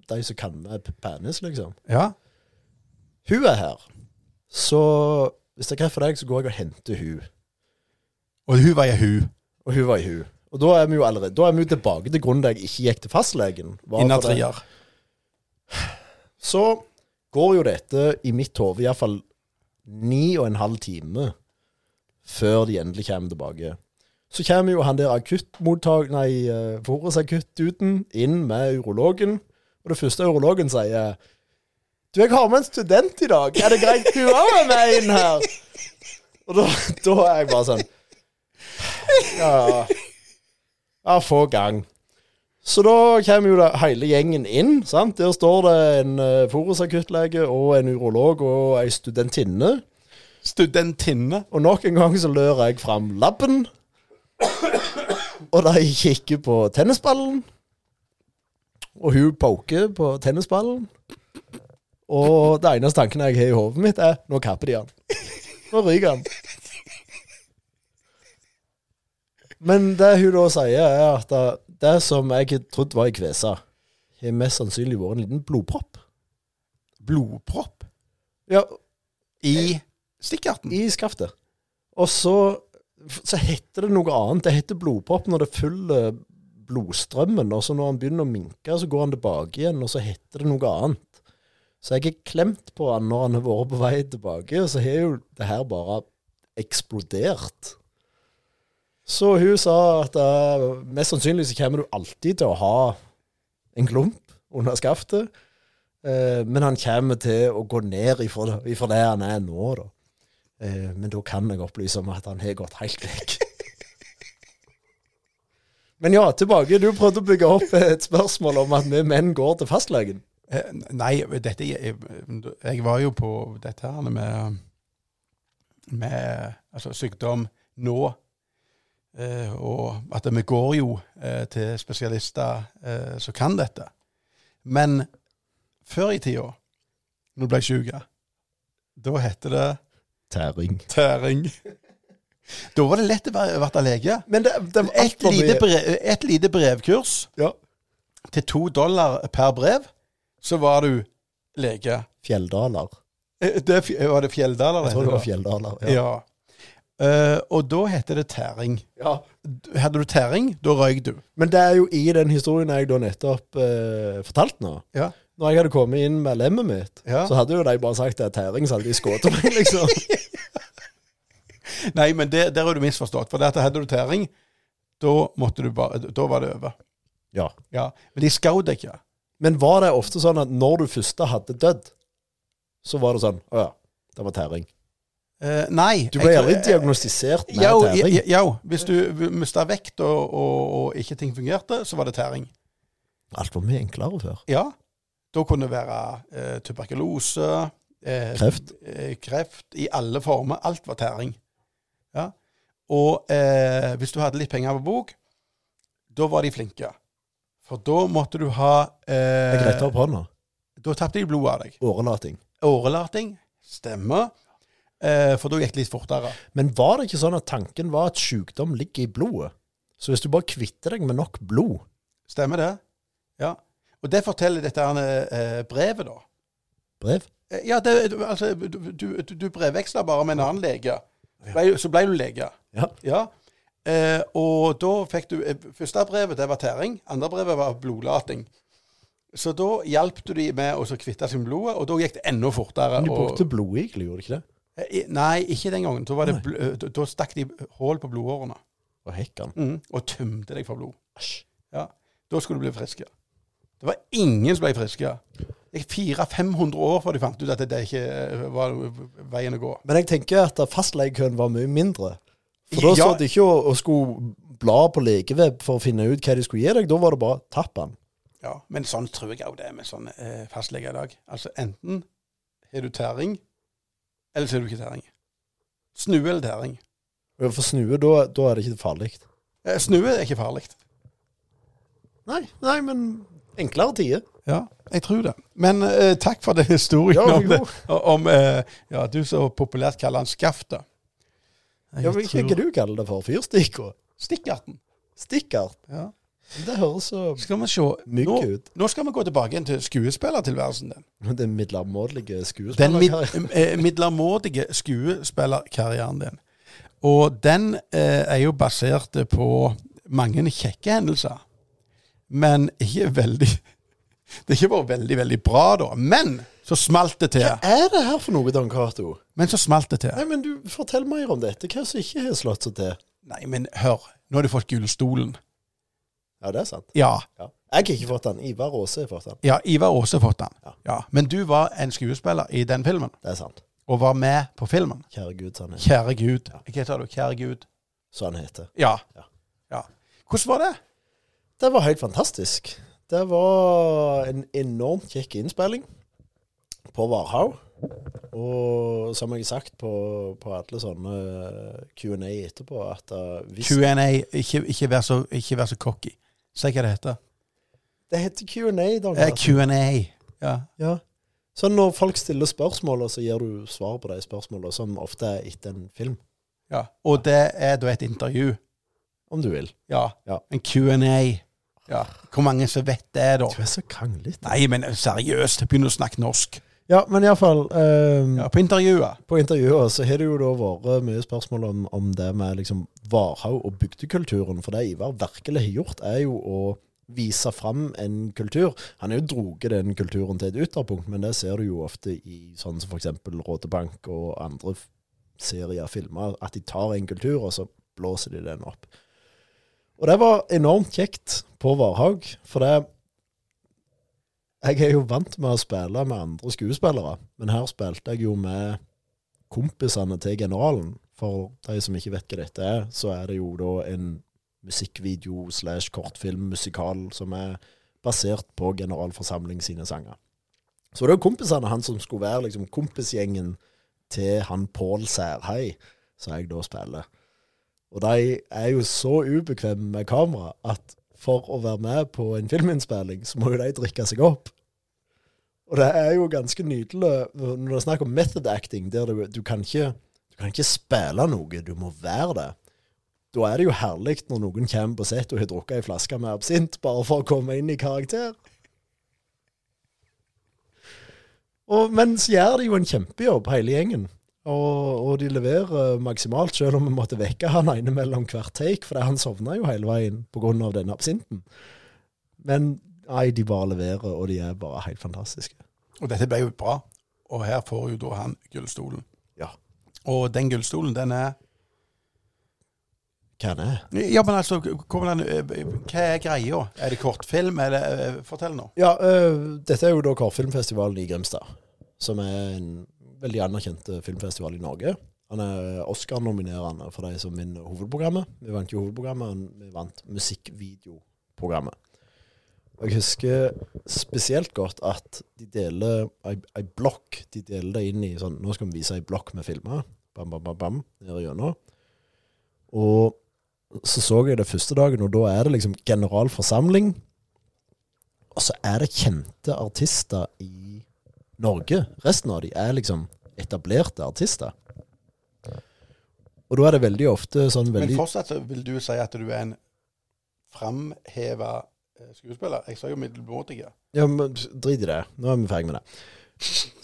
Speaker 1: De som kan med p- penis, liksom.
Speaker 2: Ja.
Speaker 1: Hun er her. Så hvis det er kreft for deg, så går jeg og henter hun.
Speaker 2: Og hun var ei hu.
Speaker 1: Og hun var i hun. Og da er vi jo allerede Da er vi jo tilbake til grunnen da jeg ikke gikk til fastlegen. Var
Speaker 2: Inna
Speaker 1: for det-
Speaker 2: trier.
Speaker 1: Så går jo dette i mitt hode iallfall ni og en halv time før de endelig kommer tilbake. Så kommer jo han der akuttmottak, nei, eh, Forus akuttuten inn med urologen. Og det første urologen sier Du, jeg har med en student i dag. Er det greit du òg er med inn her? Og da, da er jeg bare sånn Ja. Ja, få gang. Så da kommer jo da hele gjengen inn. sant? Der står det en eh, Forus-akuttlege og en urolog og ei studentinne.
Speaker 2: Studentinne.
Speaker 1: Og nok en gang så lører jeg fram labben. Og de kikker på tennisballen. Og hun poker på tennisballen. Og det eneste tanken jeg har i hodet mitt, er nå kapper de han. Nå ryker han. Men det hun da sier, er at det- det som jeg trodde var ei kvese, har mest sannsynlig vært en liten blodpropp.
Speaker 2: Blodpropp
Speaker 1: Ja,
Speaker 2: i stikkerten.
Speaker 1: i skaftet. Og så, så heter det noe annet. Det heter blodpropp når det fyller blodstrømmen. Og så når han begynner å minke, så går han tilbake igjen, og så heter det noe annet. Så jeg er klemt på han når han har vært på vei tilbake, og så har jo det her bare eksplodert. Så hun sa at eh, mest sannsynlig så kommer du alltid til å ha en klump under skaftet, eh, men han kommer til å gå ned ifra, det- ifra det han er nå, da. Eh, men da kan jeg opplyse om at han har gått helt vekk. Men ja, tilbake. Du prøvde å bygge opp et spørsmål om at vi menn går til fastlegen.
Speaker 2: Eh, Nei, dette jeg, jeg var jo på dette her med, med altså sykdom nå. Eh, og at vi går jo eh, til spesialister eh, som kan dette. Men før i tida, når du ble sjuk, da hette det
Speaker 1: Tæring.
Speaker 2: tæring. Da var det lett å være- å bli lege.
Speaker 1: Men det, det var
Speaker 2: Et
Speaker 1: altfor
Speaker 2: lite,
Speaker 1: mye
Speaker 2: brev, et lite brevkurs
Speaker 1: ja.
Speaker 2: til to dollar per brev, så var du lege.
Speaker 1: fjelldaler.
Speaker 2: Eh, Det, er fj- var det Fjelldal? eller
Speaker 1: Jeg tror
Speaker 2: heter
Speaker 1: det var fjelldaler.
Speaker 2: Ja. Eh, og da heter det tæring.
Speaker 1: Ja.
Speaker 2: D- Hadde du tæring, da røyk du.
Speaker 1: Men det er jo i den historien jeg da nettopp eh, fortalte nå.
Speaker 2: Ja.
Speaker 1: Når jeg hadde kommet inn med lemmet mitt,
Speaker 2: Ja.
Speaker 1: så hadde jo de bare sagt det er tæring, så hadde de skutt meg, liksom.
Speaker 2: Nei, men det, der er du misforstått. For det at hadde du tæring, da, måtte du bare, da var det over.
Speaker 1: Ja.
Speaker 2: Ja. Men de skjøt deg ikke.
Speaker 1: Men var det ofte sånn at når du først hadde dødd, så var det sånn Å ja, det var tæring.
Speaker 2: Eh, nei.
Speaker 1: Du ble
Speaker 2: jeg tror-
Speaker 1: aldri diagnostisert med
Speaker 2: Jo,
Speaker 1: tæring.
Speaker 2: jo, jo, hvis du mista vekt og, og, og ikke ting fungerte, så var det tæring.
Speaker 1: Alt var mye enklere før.
Speaker 2: Ja. Da kunne det være eh, tuberkulose eh,
Speaker 1: Kreft.
Speaker 2: eh, Kreft i alle former. Alt var tæring. Ja. Og eh, hvis du hadde litt penger på bok, da var de flinke. For da måtte du ha
Speaker 1: Jeg
Speaker 2: eh,
Speaker 1: retter opp hånda.
Speaker 2: Da tapte de blodet av deg.
Speaker 1: Årelating.
Speaker 2: Årelating. Stemmer. Eh, for da gikk det litt fortere.
Speaker 1: Men var det ikke sånn at tanken var at sykdom ligger i blodet? Så hvis du bare kvitter deg med nok blod
Speaker 2: Stemmer det? Ja. Og det forteller dette her, eh, brevet, da.
Speaker 1: Brev?
Speaker 2: Eh, Ja, det, du- altså, du, du, du brevveksla bare med en annen lege. Ble, så ble du lege.
Speaker 1: Ja.
Speaker 2: Eh, og da fikk du eh, Første brevet det var tæring, andre brevet var blodlating. Så da hjalp du de med å så kvitte seg med blodet, og da gikk det enda fortere.
Speaker 1: Men de
Speaker 2: og-
Speaker 1: brukte blodigler, gjorde de ikke det?
Speaker 2: Eh, Nei, ikke den gangen. Da, var det
Speaker 1: Nei.
Speaker 2: bl eh, da- da stakk de hull på blodårene
Speaker 1: Og hekkan.
Speaker 2: mm, og tømte deg for blod.
Speaker 1: Æsj.
Speaker 2: Ja, Da skulle du bli frisk. ja. Det var ingen som ble friske. Det gikk 400-500 år før de fant ut at det ikke eh, var veien å gå.
Speaker 1: Men jeg tenker at fastlegekøen var mye mindre. For da
Speaker 2: Ja.
Speaker 1: satt de ikke og, og skulle bla på legeveb for å finne ut hva de skulle gi deg. Da var det bare tapp den.
Speaker 2: Ja, Men sånn tror jeg òg det er med sånne eh, fastleger i dag. Altså enten har du tæring, eller så har du ikke tæring. Snue eller tæring.
Speaker 1: Og For snue, da, da er det ikke farlig.
Speaker 2: Eh, snue er ikke farlig.
Speaker 1: Nei, nei, men enklere tider.
Speaker 2: Ja, jeg tror det. Men eh, takk for den historien
Speaker 1: Ja, vær
Speaker 2: om, det,
Speaker 1: god.
Speaker 2: om eh, ja, du så populært kaller han skaftet.
Speaker 1: Ja, men Hva hva du kaller det for? Fyrstikka?
Speaker 2: Stikkerten.
Speaker 1: Stikkert?
Speaker 2: Ja.
Speaker 1: Det høres så
Speaker 2: Skal vi se.
Speaker 1: mygg
Speaker 2: Nå,
Speaker 1: ut.
Speaker 2: Nå skal vi gå tilbake igjen til skuespillertilværelsen din.
Speaker 1: Den middelmådige
Speaker 2: Den mid
Speaker 1: skuespillerkarrieren.
Speaker 2: eh, midlermådige skuespillerkarrieren din. Og den eh, er jo basert på mange kjekke hendelser. Men ikke veldig Det har ikke vært veldig, veldig bra, da. Men så smalt det til.
Speaker 1: Hva er det her for noe, Don Cato?
Speaker 2: Men så smalt det til.
Speaker 1: Nei, men du, Fortell mer om dette. Hva som ikke har slått seg til?
Speaker 2: Nei, men hør. Nå har du fått Gullstolen.
Speaker 1: Ja, det er sant.
Speaker 2: Ja.
Speaker 1: Ja. Jeg har ikke fått den. Ivar Aase har fått den.
Speaker 2: ja Ivar Aase har fått den.
Speaker 1: Ja.
Speaker 2: Ja. Men du var en skuespiller i den filmen.
Speaker 1: Det er sant.
Speaker 2: Og var med på filmen.
Speaker 1: Kjære Gud, sa han heter.
Speaker 2: Kjære Gud. Hva sa du? Kjære Gud.
Speaker 1: Så han heter.
Speaker 2: Ja.
Speaker 1: Ja.
Speaker 2: ja. Hvordan var det?
Speaker 1: Det var helt fantastisk. Det var en enormt kjekk innspilling på Varhaug. Og som jeg har sagt på, på alle sånne Q&A etterpå, at eh, hvis
Speaker 2: Q&A. Ikke, ikke, vær så- ikke vær så cocky. Si hva det heter.
Speaker 1: Det heter Q&A, da.
Speaker 2: Eh, Q&A. Ja.
Speaker 1: Ja. Så når folk stiller spørsmål, og så gir du svar på de spørsmålene, som ofte er etter en film,
Speaker 2: ja. Og det er da et intervju.
Speaker 1: om du vil.
Speaker 2: Ja.
Speaker 1: Ja.
Speaker 2: En Q&A. Ja. Hvor mange som vet det, da?
Speaker 1: Du er så kranglete.
Speaker 2: Nei, men seriøst. Begynn å snakke norsk.
Speaker 1: Ja, men iallfall um,
Speaker 2: Ja, På intervjuet.
Speaker 1: På intervjuet så har det jo da vært mye spørsmål om, om det med liksom Varhaug og bygdekulturen. For det Ivar virkelig har gjort, er jo å vise fram en kultur. Han har jo droget den kulturen til et ytterpunkt, men det ser du jo ofte i sånn som f.eks. Rådebank og andre f- serier, filmer, at de tar en kultur, og så blåser de den opp. Og det var enormt kjekt på Varhaug, for det Jeg er jo vant med å spille med andre skuespillere, men her spilte jeg jo med kompisene til generalen. For de som ikke vet hva dette er, så er det jo da en musikkvideo slash kortfilm musikal som er basert på generalforsamling sine sanger. Så det er jo kompisene han som skulle være liksom kompisgjengen til han Pål Særhei, som jeg da spiller. Og de er jo så ubekvemme med kamera at for å være med på en filminnspilling, så må jo de drikke seg opp. Og det er jo ganske nydelig når det er snakk om method acting, der du, du, kan ikke, du kan ikke spille noe, du må være det. Da er det jo herlig når noen kommer på sett og har drukket ei flaske med absint, bare for å komme inn i karakter. Og, men så gjør de jo en kjempejobb, hele gjengen. Og, og de leverer maksimalt, selv om vi måtte vekke han ene mellom hvert take, for han sovna jo hele veien pga. den absinten. Men nei, de bare leverer, og de er bare helt fantastiske.
Speaker 2: Og dette ble jo bra. Og her får jo da han gullstolen.
Speaker 1: Ja.
Speaker 2: Og den gullstolen, den er
Speaker 1: hva han er.
Speaker 2: Ja, men altså, hvordan, hva er greia? Er det kortfilm? Er det, eh, fortell nå.
Speaker 1: Ja, øh, dette er jo da Kortfilmfestivalen i Grimstad, som er en veldig anerkjent øh, filmfestival i Norge. Han er Oscar-nominerende for de som vinner hovedprogrammet. Vi vant jo hovedprogrammet, og vi vant musikkvideoprogrammet. Og Jeg husker spesielt godt at de deler ei, ei blokk. De deler det inn i sånn Nå skal vi vise ei blokk med filmer. Bam, bam, bam, bam. Nede gjennom. Og så så jeg det første dagen, og da er det liksom generalforsamling. Og så er det kjente artister i Norge. Resten av de er liksom etablerte artister. Og da er det veldig ofte sånn
Speaker 2: Men
Speaker 1: veldig
Speaker 2: fortsatt så vil du si at du er en framheva eh, skuespiller? Jeg sa jo middelmådig.
Speaker 1: Ja, men drit i det. Nå er vi ferdig med det.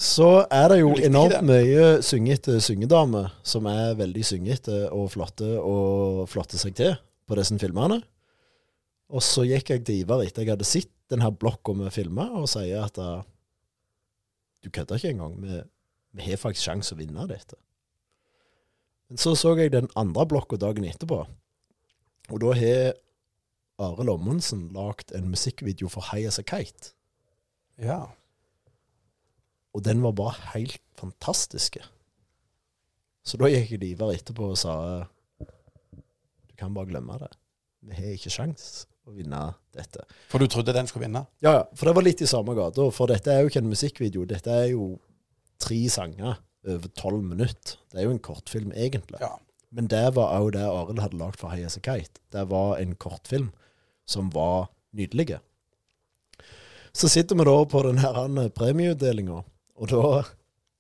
Speaker 1: Så er det jo
Speaker 2: Du likte
Speaker 1: enormt
Speaker 2: det.
Speaker 1: mye syngete syngedamer som er veldig syngete og flotte og flotte seg til på disse filmene. Og så gikk jeg til Ivar etter jeg hadde sett den her blokka med filmer, og sier at eh, du kødder ikke engang. Vi, vi har faktisk sjanse å vinne dette. Men så så jeg den andre blokka dagen etterpå, og da har Arild Ommundsen lagd en musikkvideo for High As A Kite.
Speaker 2: Ja.
Speaker 1: Og den var bare helt fantastisk. Så da gikk jeg til Ivar etterpå og sa du kan bare glemme det. Vi har ikke sjans å vinne dette.
Speaker 2: For du trodde den skulle vinne?
Speaker 1: Ja, ja, for det var litt i samme gata. For dette er jo ikke en musikkvideo. Dette er jo tre sanger over tolv minutter. Det er jo en kortfilm, egentlig.
Speaker 2: Ja.
Speaker 1: Men det var òg det Arild hadde lagd for High As A Kite. Det var en kortfilm som var nydelig. Så sitter vi da på den her andre premieutdelinga, og da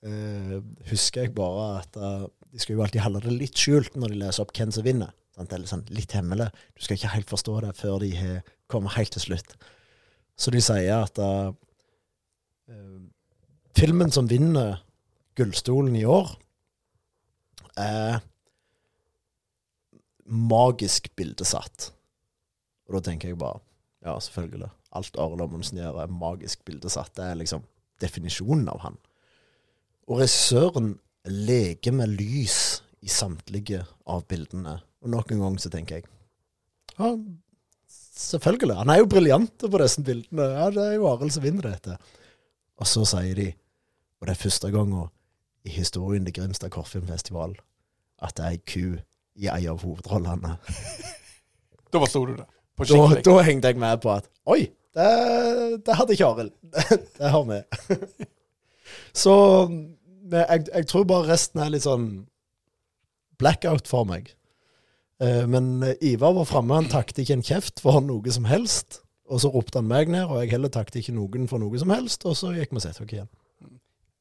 Speaker 1: eh, husker jeg bare at eh, de skal jo alltid holde det litt skjult når de leser opp hvem som vinner. Sant? Det er litt sånn litt hemmelig. Du skal ikke helt forstå det før de har kommet helt til slutt. Så de sier at eh, eh, filmen som vinner Gullstolen i år, eh, er magisk bildesatt. Og da tenker jeg bare Ja, selvfølgelig. Alt Arild Amundsen gjør, er magisk bildesatt. Det er liksom definisjonen av han. Og regissøren leker med lys i samtlige av bildene. Og nok en gang så tenker jeg Ja, selvfølgelig. Han er jo briljant på disse bildene. Ja, det er jo Arild som vinner dette. Og så sier de, og det er første gangen i historien til Grimstad Kortfilmfestival, at det er ei ku i ei av hovedrollene.
Speaker 2: Da forsto du det. På
Speaker 1: Da,
Speaker 2: skikkelig.
Speaker 1: da hengte jeg med på at oi, det, det hadde ikke Arild. Det har vi. Så men jeg, jeg tror bare resten er litt sånn blackout for meg. Eh, Men Ivar var framme, han takket ikke en kjeft for noe som helst. Og så ropte han meg ned, og jeg heller takket ikke noen for noe som helst. Og så gikk vi og satte oss igjen.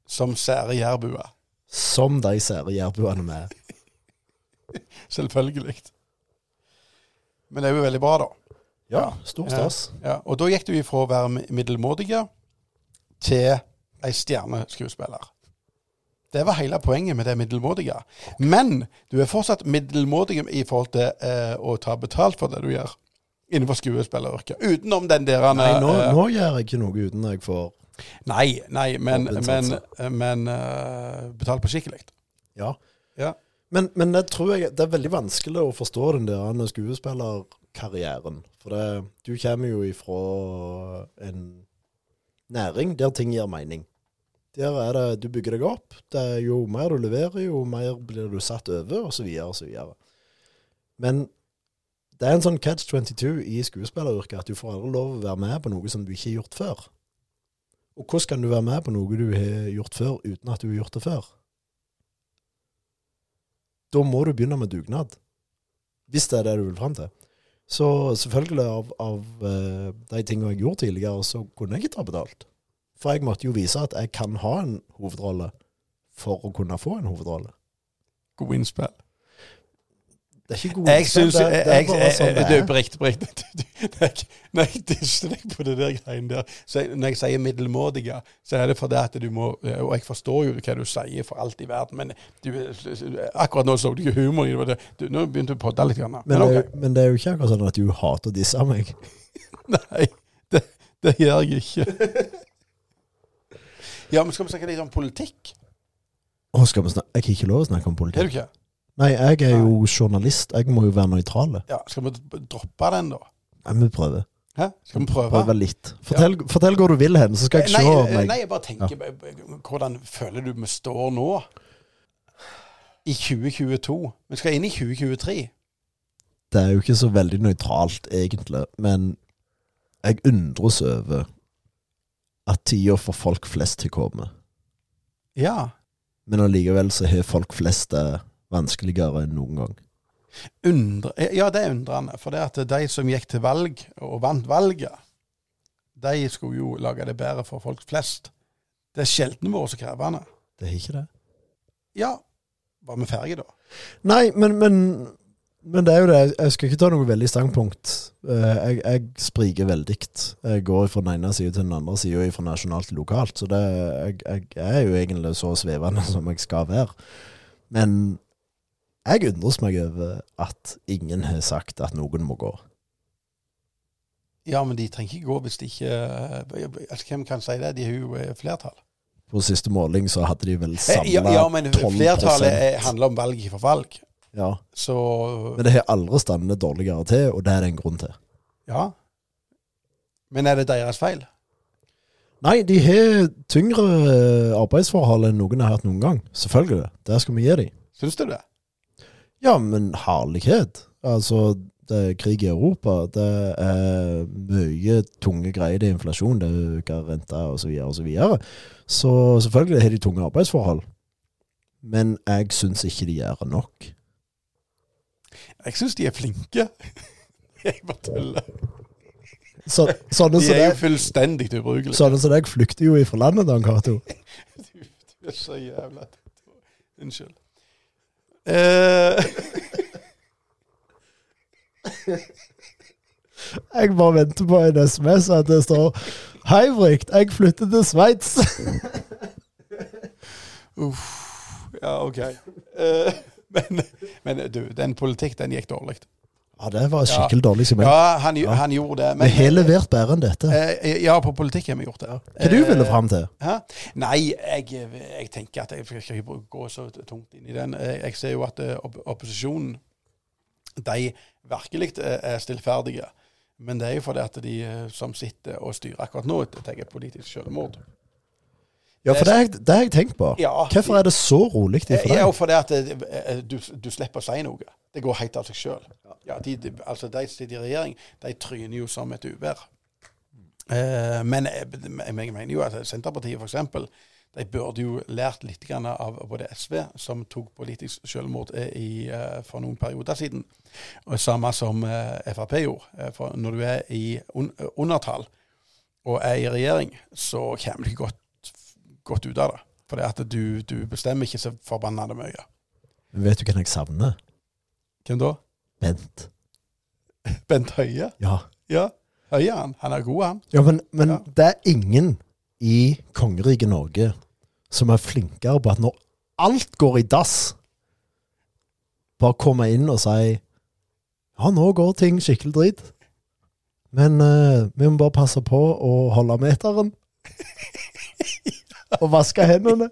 Speaker 2: Som sære jærbuer.
Speaker 1: Som de sære jærbuene vi er.
Speaker 2: Selvfølgelig. Men det er jo veldig bra, da.
Speaker 1: Ja, stor stas.
Speaker 2: Ja, og da gikk du ifra å være mi- middelmådige til ei stjerneskuespiller. Det var hele poenget med det middelmådige. Men du er fortsatt middelmådig i forhold til eh, å ta betalt for det du gjør innenfor skuespilleryrket. Utenom den der
Speaker 1: Nei, nå,
Speaker 2: eh,
Speaker 1: nå gjør jeg ikke noe uten jeg får
Speaker 2: nei, nei, men, men,
Speaker 1: Kompensasjon.
Speaker 2: men eh, betalt på skikkelig.
Speaker 1: Ja.
Speaker 2: Ja.
Speaker 1: Men, men det tror jeg det er veldig vanskelig å forstå den der andre skuespillerkarrieren. For det, du kommer jo ifra en næring der ting gir mening. Der er det du bygger deg opp. Det er jo mer du leverer, jo mer blir du satt over, og så videre, og så videre. Men det er en sånn catch 22 i skuespilleryrket at du får aldri lov å være med på noe som du ikke har gjort før. Og hvordan kan du være med på noe du har gjort før, uten at du har gjort det før? da må du begynne med dugnad. Hvis det er det du vil fram til. Så selvfølgelig, av, av eh, de tingene jeg gjorde tidligere, så kunne jeg ikke ta betalt. For jeg måtte jo vise at jeg kan ha en hovedrolle for å kunne få en hovedrolle.
Speaker 2: God innspill.
Speaker 1: Det er ikke god
Speaker 2: Jeg syns
Speaker 1: det, det er bare sånn det
Speaker 2: Du,
Speaker 1: er.
Speaker 2: Brikte, Brikte Når jeg disser deg på det der greiene der så jeg- Når jeg sier middelmådige, så er det fordi at du må Og jeg forstår jo hva du sier for alt i verden, men du, akkurat nå så du ikke humor i det, det. Du, nå begynte du å podde litt. Grann, men
Speaker 1: Men, det er,
Speaker 2: ok.
Speaker 1: jo- men det er jo ikke akkurat sånn at du hater å disse meg.
Speaker 2: Nei, det, det gjør jeg ikke. Ja, men skal vi snakke litt om politikk?
Speaker 1: Å, skal vi snakke? Jeg har ikke lov å snakke om
Speaker 2: Er du
Speaker 1: politikk.
Speaker 2: ikke?
Speaker 1: Nei, jeg er jo journalist. Jeg må jo være nøytral.
Speaker 2: Ja, Skal vi d- droppe den, da?
Speaker 1: Nei, Vi prøver.
Speaker 2: Hæ? Skal vi prøve?
Speaker 1: Prøve litt. Fortell, fortell hvor du vil hen, så skal jeg se om
Speaker 2: Eh, nei,
Speaker 1: jeg
Speaker 2: nei, jeg bare tenker b- b- Hvordan føler du vi står nå? I 2022. Vi skal inn i 2023.
Speaker 1: Det er jo ikke så veldig nøytralt, egentlig, men jeg undres over at tida for folk flest har kommet.
Speaker 2: Ja.
Speaker 1: Men allikevel så har folk flest det vanskeligere enn noen gang.
Speaker 2: Undre, eh, ja, det er undrende. For det at de som gikk til valg og vant valget, de skulle jo lage det bedre for folk flest. Det er sjelden vært så krevende.
Speaker 1: Det har ikke det.
Speaker 2: Ja, var vi ferdige da?
Speaker 1: Nei, men, men, men det er jo det. Jeg skal ikke ta noe veldig standpunkt. Eh, Jeg, jeg spriker veldig. Jeg går fra den ene sida til den andre sida, fra nasjonalt til lokalt. Så det, jeg, jeg er jo egentlig så svevende som jeg skal være. Men jeg undres meg over at ingen har sagt at noen må gå.
Speaker 2: Ja, men de trenger ikke gå hvis de ikke altså, Hvem kan si det? De har jo eh, flertall.
Speaker 1: På siste måling så hadde de vel
Speaker 2: Eh, Ja,
Speaker 1: samla
Speaker 2: ja, men
Speaker 1: 12%.
Speaker 2: flertallet eh, handler om valg for valg.
Speaker 1: Ja.
Speaker 2: Så
Speaker 1: Men det har aldri standet dårligere til, og det er det en grunn til.
Speaker 2: ja. Men er det deres feil?
Speaker 1: Nei, de har tyngre eh, arbeidsforhold enn noen har hatt noen gang. Selvfølgelig. Der skal vi gi dem.
Speaker 2: Syns du det?
Speaker 1: Ja, men herlighet. Altså, det er krig i Europa. Det er mye tunge greier. Det er inflasjon, det øker renta osv. Så, videre, og så, videre. så selvfølgelig har de tunge arbeidsforhold. Men jeg syns ikke de gjør nok.
Speaker 2: Jeg syns de er flinke. Jeg bare tuller.
Speaker 1: Så, sånne
Speaker 2: De
Speaker 1: som
Speaker 2: er jo
Speaker 1: deg-
Speaker 2: fullstendig ubrukelige.
Speaker 1: sånne som deg flykter jo ifra landet, Dan Cato.
Speaker 2: Du, du er så jævla Unnskyld. Eh,
Speaker 1: Jeg bare venter på en SMS at det står Hei, Brikt, jeg flytter til Sveits.
Speaker 2: ja, OK. Eh, men, men du, den politikk, den gikk dårlig.
Speaker 1: Ja, det var skikkelig dårlig som jeg.
Speaker 2: Ja, han, gj- han gjorde det.
Speaker 1: Vi
Speaker 2: Men,
Speaker 1: har levert bedre enn dette.
Speaker 2: eh, ja, på politikk har vi gjort det.
Speaker 1: Hva du ville fram til?
Speaker 2: Hæ? Nei, jeg, jeg tenker at jeg skal ikke bruke- gå så tungt inn i den. Eh, Jeg ser jo at eh, opp opposisjonen, de virkelig eh, er stillferdige. Men det er jo fordi at de eh, som sitter og styrer akkurat nå, tar et politisk selvmord.
Speaker 1: Ja, for det har jeg- det har jeg tenkt på.
Speaker 2: Ja.
Speaker 1: Hvorfor er det så rolig
Speaker 2: Det
Speaker 1: for
Speaker 2: er jo
Speaker 1: deg?
Speaker 2: fordi at eh, du, du slipper å si noe. Det går helt av seg sjøl. Ja, de, de, altså de som sitter i regjering, de tryner jo som et uvær. Eh, men jeg, jeg mener jo at Senterpartiet f.eks. De burde jo lært litt grann av både SV, som tok politisk selvmord eh, i, eh, for noen perioder siden, og samme som eh, Frp gjorde. Eh, For når du er i un eh, undertall og er i regjering, så kommer du ikke godt, godt ut av det. For det at du, du bestemmer ikke så forbannede mye.
Speaker 1: Vet du hvem jeg savner?
Speaker 2: Hvem da?
Speaker 1: Bent.
Speaker 2: Bent Høie?
Speaker 1: Ja,
Speaker 2: Ja, Høie han. Han er god, han.
Speaker 1: ja men, men
Speaker 2: Ja.
Speaker 1: det er ingen i kongeriket Norge som er flinkere på at når alt går i dass, bare komme inn og si Ja, nå går ting skikkelig drit. Men eh, vi må bare passe på å holde meteren. Og vaske hendene.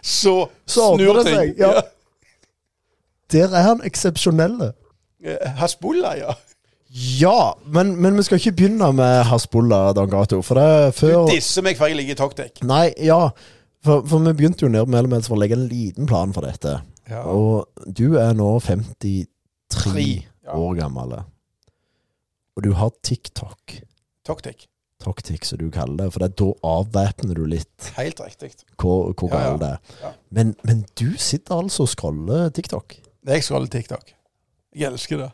Speaker 2: Så,
Speaker 1: Så
Speaker 2: snur
Speaker 1: ordner det
Speaker 2: ting.
Speaker 1: seg, ja. Der er han eksepsjonelle.
Speaker 2: Ja. Eh, Hasbulla, ja.
Speaker 1: Ja, men, men vi skal ikke begynne med Hasbulla, Dan Gato. For det er
Speaker 2: Du
Speaker 1: før
Speaker 2: disser meg for jeg ligger i toktek.
Speaker 1: Nei, ja. For, for vi begynte jo nede med Elements for å legge en liten plan for dette.
Speaker 2: Ja.
Speaker 1: Og du er nå 53
Speaker 2: Tre, ja.
Speaker 1: år gammel. Og du har TikTok.
Speaker 2: Toktek.
Speaker 1: Toktik, som du kaller det. For det, er da avvæpner du litt
Speaker 2: Helt riktig.
Speaker 1: hvor, hvor
Speaker 2: Ja, ja.
Speaker 1: gammel det er.
Speaker 2: Ja.
Speaker 1: Men, men du sitter altså og scroller TikTok.
Speaker 2: Jeg scroller TikTok. Jeg elsker det.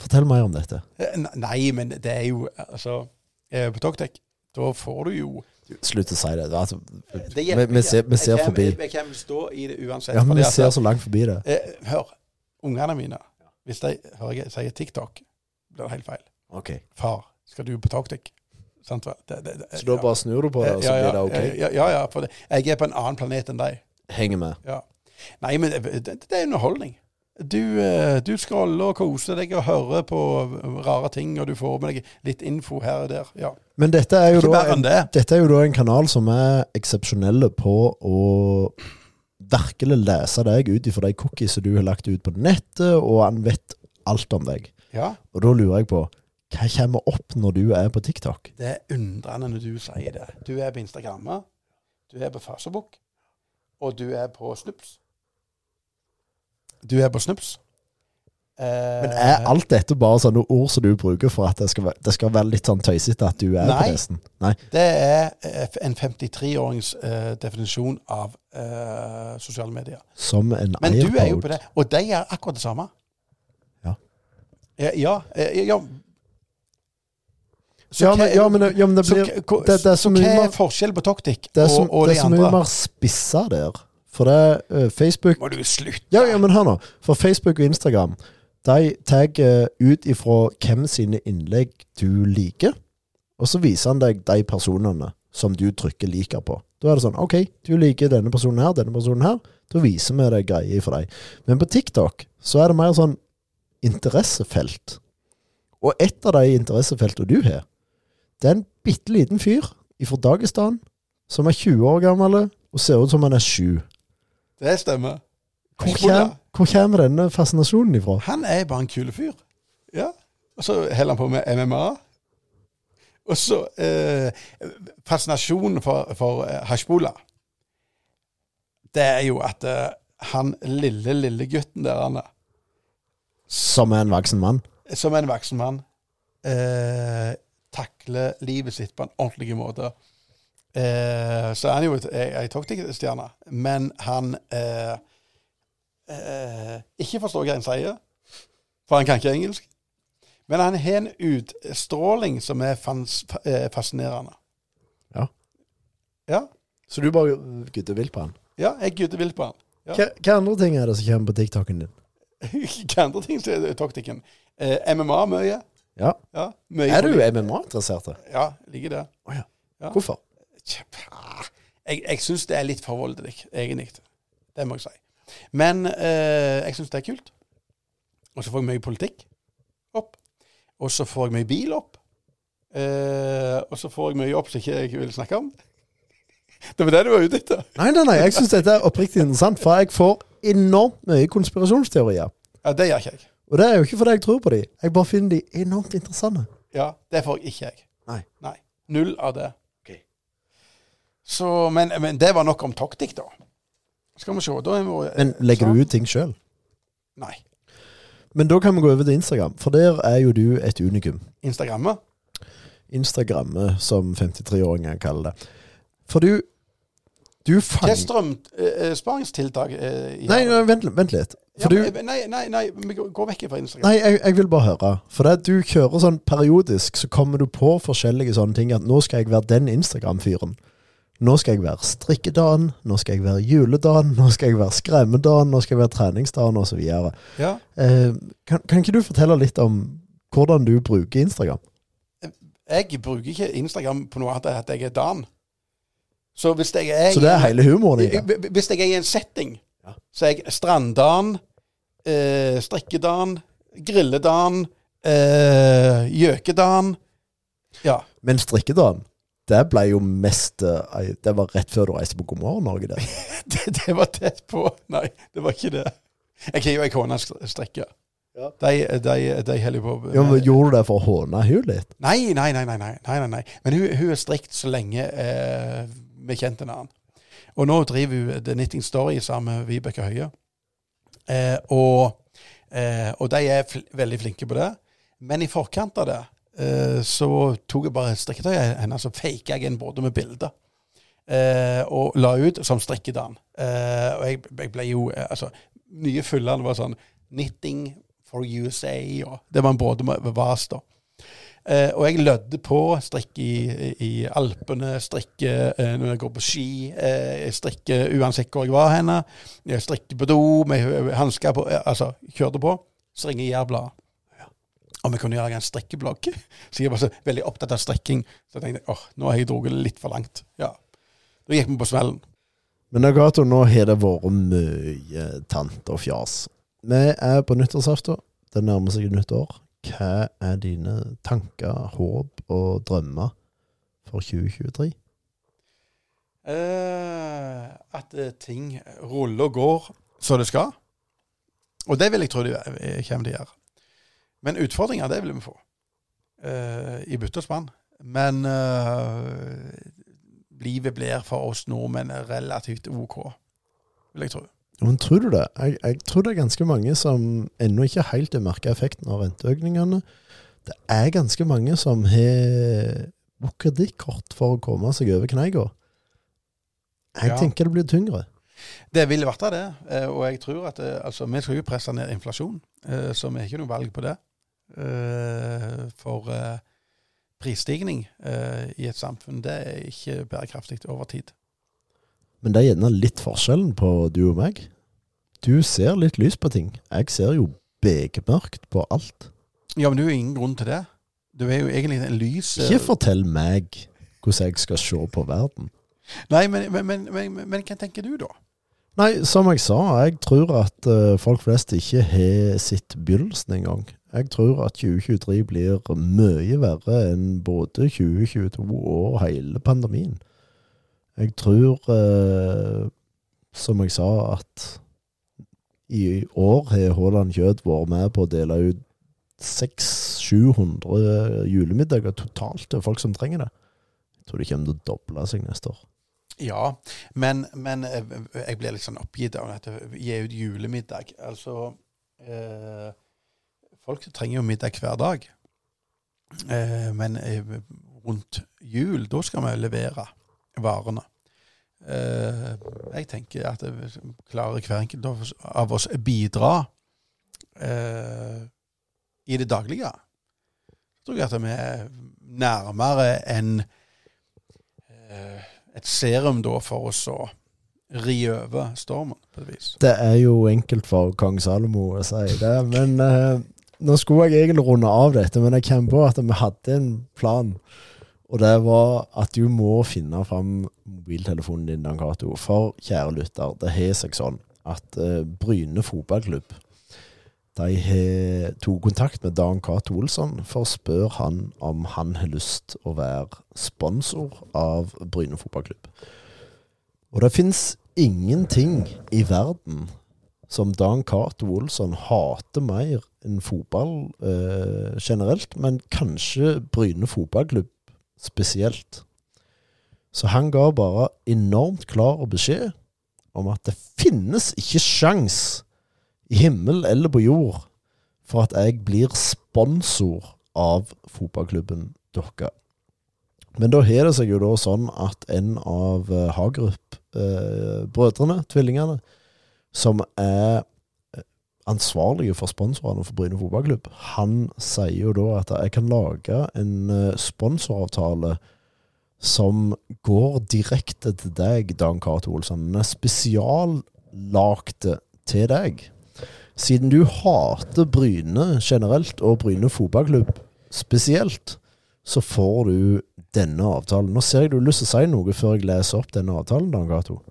Speaker 1: Fortell mer om dette.
Speaker 2: Eh, ne- Nei, men det er jo Altså, eh, på toktek, da får du jo
Speaker 1: Slutt å si det. Altså,
Speaker 2: det
Speaker 1: vi, vi ser, vi ser
Speaker 2: Jeg kan-
Speaker 1: forbi.
Speaker 2: Jeg kan stå i det uansett.
Speaker 1: Ja,
Speaker 2: fordi
Speaker 1: men vi
Speaker 2: at-
Speaker 1: ser så langt forbi det.
Speaker 2: Eh, hør, ungene mine, hvis de hører jeg sier TikTok, blir det helt feil.
Speaker 1: Ok.
Speaker 2: Far, skal du på TikTok? Sant vel? Det- det- det-
Speaker 1: Så da bare snur du på det, og så
Speaker 2: Ja, ja,
Speaker 1: blir det ok?
Speaker 2: Ja, ja, ja, for det- jeg er på en annen planet enn deg.
Speaker 1: Henger med.
Speaker 2: Ja. Nei, men det, det det er underholdning. Du, eh, du scroller og koser deg og hører på eh, rare ting, og du får med deg litt info her og der. Ja.
Speaker 1: Men dette er jo
Speaker 2: Ikke
Speaker 1: da
Speaker 2: verre enn
Speaker 1: en,
Speaker 2: det.
Speaker 1: dette er jo da en kanal som er eksepsjonelle på å virkelig lese deg ut ifra de cookiesene du har lagt ut på nettet, og han vet alt om deg.
Speaker 2: Ja,
Speaker 1: Og da lurer jeg på, hva kommer opp når du er på TikTok?
Speaker 2: Det er undrende når du sier det. Du er på Instagram, du er på Facebook, og du er på Snups. Du er på Snups. Eh,
Speaker 1: Men er alt dette bare sånne ord som du bruker for at det skal være, det skal være litt sånn tøysete at du er
Speaker 2: Nei.
Speaker 1: på nesten? Nei.
Speaker 2: Det er eh, en 53-årings eh, definisjon av eh, sosiale medier.
Speaker 1: Som en
Speaker 2: Men du er jo
Speaker 1: AirPod.
Speaker 2: på det, og de er akkurat det samme.
Speaker 1: Ja.
Speaker 2: Ja, ja, eh, ja. Så
Speaker 1: Ja,
Speaker 2: hva-
Speaker 1: men, ja, men, ja, men det
Speaker 2: så
Speaker 1: blir
Speaker 2: hva- hva-
Speaker 1: det- det er så mye
Speaker 2: Hva
Speaker 1: mer-
Speaker 2: er forskjellen på Toktik
Speaker 1: Det er så,
Speaker 2: og, og
Speaker 1: det
Speaker 2: de
Speaker 1: er så mye
Speaker 2: andre?
Speaker 1: mer spissa der. For det eh, Facebook
Speaker 2: Må du slutte?
Speaker 1: ja, ja, men hør nå. For Facebook og Instagram de tagger ut ifra hvem sine innlegg du liker, og så viser han deg de personene som du trykker 'liker' på. Da er det sånn OK, du liker denne personen her, denne personen her. Da viser vi deg greier for deg. Men på TikTok så er det mer sånn interessefelt. Og et av de interessefeltene du har, det er en bitte liten fyr fra Dagestan som er 20 år gammel og ser ut som han er 7.
Speaker 2: Det stemmer.
Speaker 1: Hvor kommer, hvor kommer denne fascinasjonen ifra?
Speaker 2: Han er bare en kul fyr. Ja. Og så holder han på med MMA. Og så eh, fascinasjonen for, for eh, Hashbola. Det er jo at eh, han lille, lille gutten der han er,
Speaker 1: Som er en voksen mann.
Speaker 2: som er en voksen mann, eh, takler livet sitt på en ordentlig måte. Eh, så er han jo et- ei ei toppstjerne, men han eh, eh, ikke forstår hva han sier, for han kan ikke engelsk. Men han har en utstråling som er fans, fa- eh, fascinerende.
Speaker 1: Ja.
Speaker 2: Ja,
Speaker 1: Så du bare gutter vilt på han.
Speaker 2: ja jeg gudde vilt på han. Ja.
Speaker 1: Hva, hva andre ting er det som kommer på TikToken din?
Speaker 2: Hva andre ting som er taktikken? Eh, MMA mye.
Speaker 1: Ja.
Speaker 2: Ja, mye
Speaker 1: Er du MMA-interessert?
Speaker 2: Ja, ligger det.
Speaker 1: Å ja.
Speaker 2: Ja.
Speaker 1: Hvorfor?
Speaker 2: Tja, Ah, Jeg, jeg syns det er litt for voldelig, egentlig. Det må jeg si. Men eh, jeg syns det er kult. Og så får jeg mye politikk opp. Og så får jeg mye bil opp. Eh, og så får jeg mye opp som ikke jeg vil snakke om. Det var det du var ute etter?
Speaker 1: Nei, nei, nei, jeg syns dette er oppriktig interessant, for jeg får enormt mye konspirasjonsteorier.
Speaker 2: Ja, det gjør ikke jeg.
Speaker 1: Og det er jo ikke fordi jeg tror på dem, jeg bare finner de enormt interessante.
Speaker 2: Ja, Det får jeg ikke jeg.
Speaker 1: Nei.
Speaker 2: Null av det.
Speaker 1: Ok.
Speaker 2: Så, men, men det var nok om toktikk, da. Skal vi se da er vi,
Speaker 1: Men legger du ut ting sjøl?
Speaker 2: Nei.
Speaker 1: Men da kan vi gå over til Instagram, for der er jo du et unikum.
Speaker 2: Instagrammet?
Speaker 1: Instagramme, som 53-åringer kaller det. For du Du
Speaker 2: Hva
Speaker 1: fanger
Speaker 2: er eh, strømsparingstiltak eh, i
Speaker 1: Nei, nei vent, vent litt.
Speaker 2: ja,
Speaker 1: For du,
Speaker 2: men- Nei, nei, nei, vi går går vekk fra Instagram.
Speaker 1: nei, jeg, jeg vil bare høre. For det, at du kjører sånn periodisk, så kommer du på forskjellige sånne ting. At nå skal jeg være den Instagram-fyren. Nå skal jeg være strikkedagen, nå skal jeg være juledagen, nå skal jeg være skremmedagen, nå skal jeg være treningsdagen osv.
Speaker 2: Ja.
Speaker 1: Eh, kan, kan ikke du fortelle litt om hvordan du bruker Instagram?
Speaker 2: Jeg bruker ikke Instagram på noe annet enn at jeg er Dan. Så hvis jeg er, Eh,
Speaker 1: Så det er hele humoren i det.
Speaker 2: hvis jeg er i en setting,
Speaker 1: Ja.
Speaker 2: så er jeg stranddan, eh, strikkedan, grilledan, eh, gjøkedan. Ja.
Speaker 1: Men strikkedagen, det ble jo mest eh, Det var rett før du reiste på God morgen Norge, det.
Speaker 2: Det, det var tett på. Nei, det var ikke det. Jeg har jo ei kone som strikker.
Speaker 1: Ja.
Speaker 2: De, de, de holder jo på
Speaker 1: Jo, men Gjorde du det for å håne hun litt?
Speaker 2: Nei, nei, nei. nei, nei, nei, nei, nei. Men hun, hun er strikt så lenge eh, vi kjente en annen. Og nå driver hun The Knitting Story sammen med Vibeke Høie. Eh, og, eh, og de er fl veldig flinke på det. Men i forkant av det eh, så tok jeg bare strikketøyet hennes og faka jeg inn både med bilder. Eh, og la ut som strikkedan. Eh, og jeg, jeg ble jo eh, altså, Nye fyllene var sånn Knitting for USA og Det var en både med med vas, da. Eh, og jeg lødde på. Strikke i, i Alpene, strikke eh, når jeg går på ski, eh, jeg strikke uansett hvor jeg var henne. Jeg strikke på do med hø- hansker på. Eh, altså, kjørte på. Så ringer Jærbladet. Om jeg kunne lage en strikkeblogg. Så jeg var så veldig opptatt av strikking. Så jeg tenkte åh, nå har jeg dratt det litt for langt. Ja. Da gikk vi på smellen.
Speaker 1: Men Nagato, nå har det vært mye tant og fjas. Vi er på nyttårsaften. Det nærmer seg nyttår. Hva er dine tanker, håp og drømmer for 2023?
Speaker 2: eh, at eh, ting ruller og går som det skal. Og det vil jeg tro de eh, kommer til å gjøre. Men utfordringer, det vil vi få. eh, I butt og spann. Men eh, livet blir for oss nordmenn relativt OK, vil jeg tro.
Speaker 1: Men tror du det? Jeg, jeg tror det er ganske mange som ennå ikke helt har merka effekten av renteøkningene. Det er ganske mange som har brukt kredittkort for å komme seg over kneika. Jeg
Speaker 2: Ja.
Speaker 1: tenker det blir tyngre.
Speaker 2: Det ville vært av det. eh, Og jeg tror at eh, altså, vi skal jo presse ned inflasjon, eh, så vi har ikke noe valg på det. Eh, For eh, prisstigning eh, i et samfunn, det er ikke bærekraftig over tid.
Speaker 1: Men det er gjerne litt forskjellen på du og meg. Du ser litt lys på ting. Jeg ser jo bekmørkt på alt.
Speaker 2: Ja, men det er jo ingen grunn til det. Du er jo egentlig en lys eh,
Speaker 1: Ikke fortell meg hvordan jeg skal se på verden.
Speaker 2: Nei, men, men, men, men, men hva tenker du, da?
Speaker 1: Nei, som jeg sa, jeg tror at eh, folk flest ikke har sitt begynnelsen engang. Jeg tror at 2023 blir mye verre enn både 2022 og hele pandemien. Jeg tror, eh, som jeg sa, at i år har Haaland Kjøtt vært med på å dele ut 600-700 julemiddager totalt til folk som trenger det. Jeg tror det kommer til å doble seg neste år.
Speaker 2: Ja, men, men eh, jeg blir litt sånn oppgitt av dette. Gi ut julemiddag. Altså eh, Folk trenger jo middag hver dag. Eh, men eh, rundt jul, da skal vi levere varene. Eh, jeg tenker at det- klarer hver enkelt av oss- av oss bidra eh, i det daglige, så tror jeg at vi er nærmere enn eh, et serum da for oss å ri over stormen, på et vis.
Speaker 1: Det er jo enkelt for kong Salomo å si det, men eh, nå skulle jeg egentlig runde av dette, men jeg kom på at vi hadde en plan. Og det var at du må finne fram mobiltelefonen din, Dan Cato. For kjære lytter, det har seg sånn at eh, Bryne fotballklubb de har tok kontakt med Dan Cato Olsson for å spørre han om han har lyst å være sponsor av Bryne fotballklubb. Og det fins ingenting i verden som Dan Cato Olsson hater mer enn fotball eh, generelt, men kanskje Bryne fotballklubb spesielt. Så han ga bare enormt klar beskjed om at det finnes ikke sjans i himmel eller på jord for at jeg blir sponsor av fotballklubben deres. Men da har det seg jo da sånn at en av eh, Hagerup-brødrene, eh, tvillingene, som er eh, ansvarlige for sponsorene for Bryne fotballklubb, han sier jo da at jeg kan lage en eh, sponsoravtale som går direkte til deg, Dan Cato Olsen. Den er spesiallagte til deg. Siden du hater Bryne generelt, og Bryne fotballklubb spesielt, så får du denne avtalen. Nå ser jeg du har lyst til å si noe før jeg leser opp denne avtalen, Dan Cato.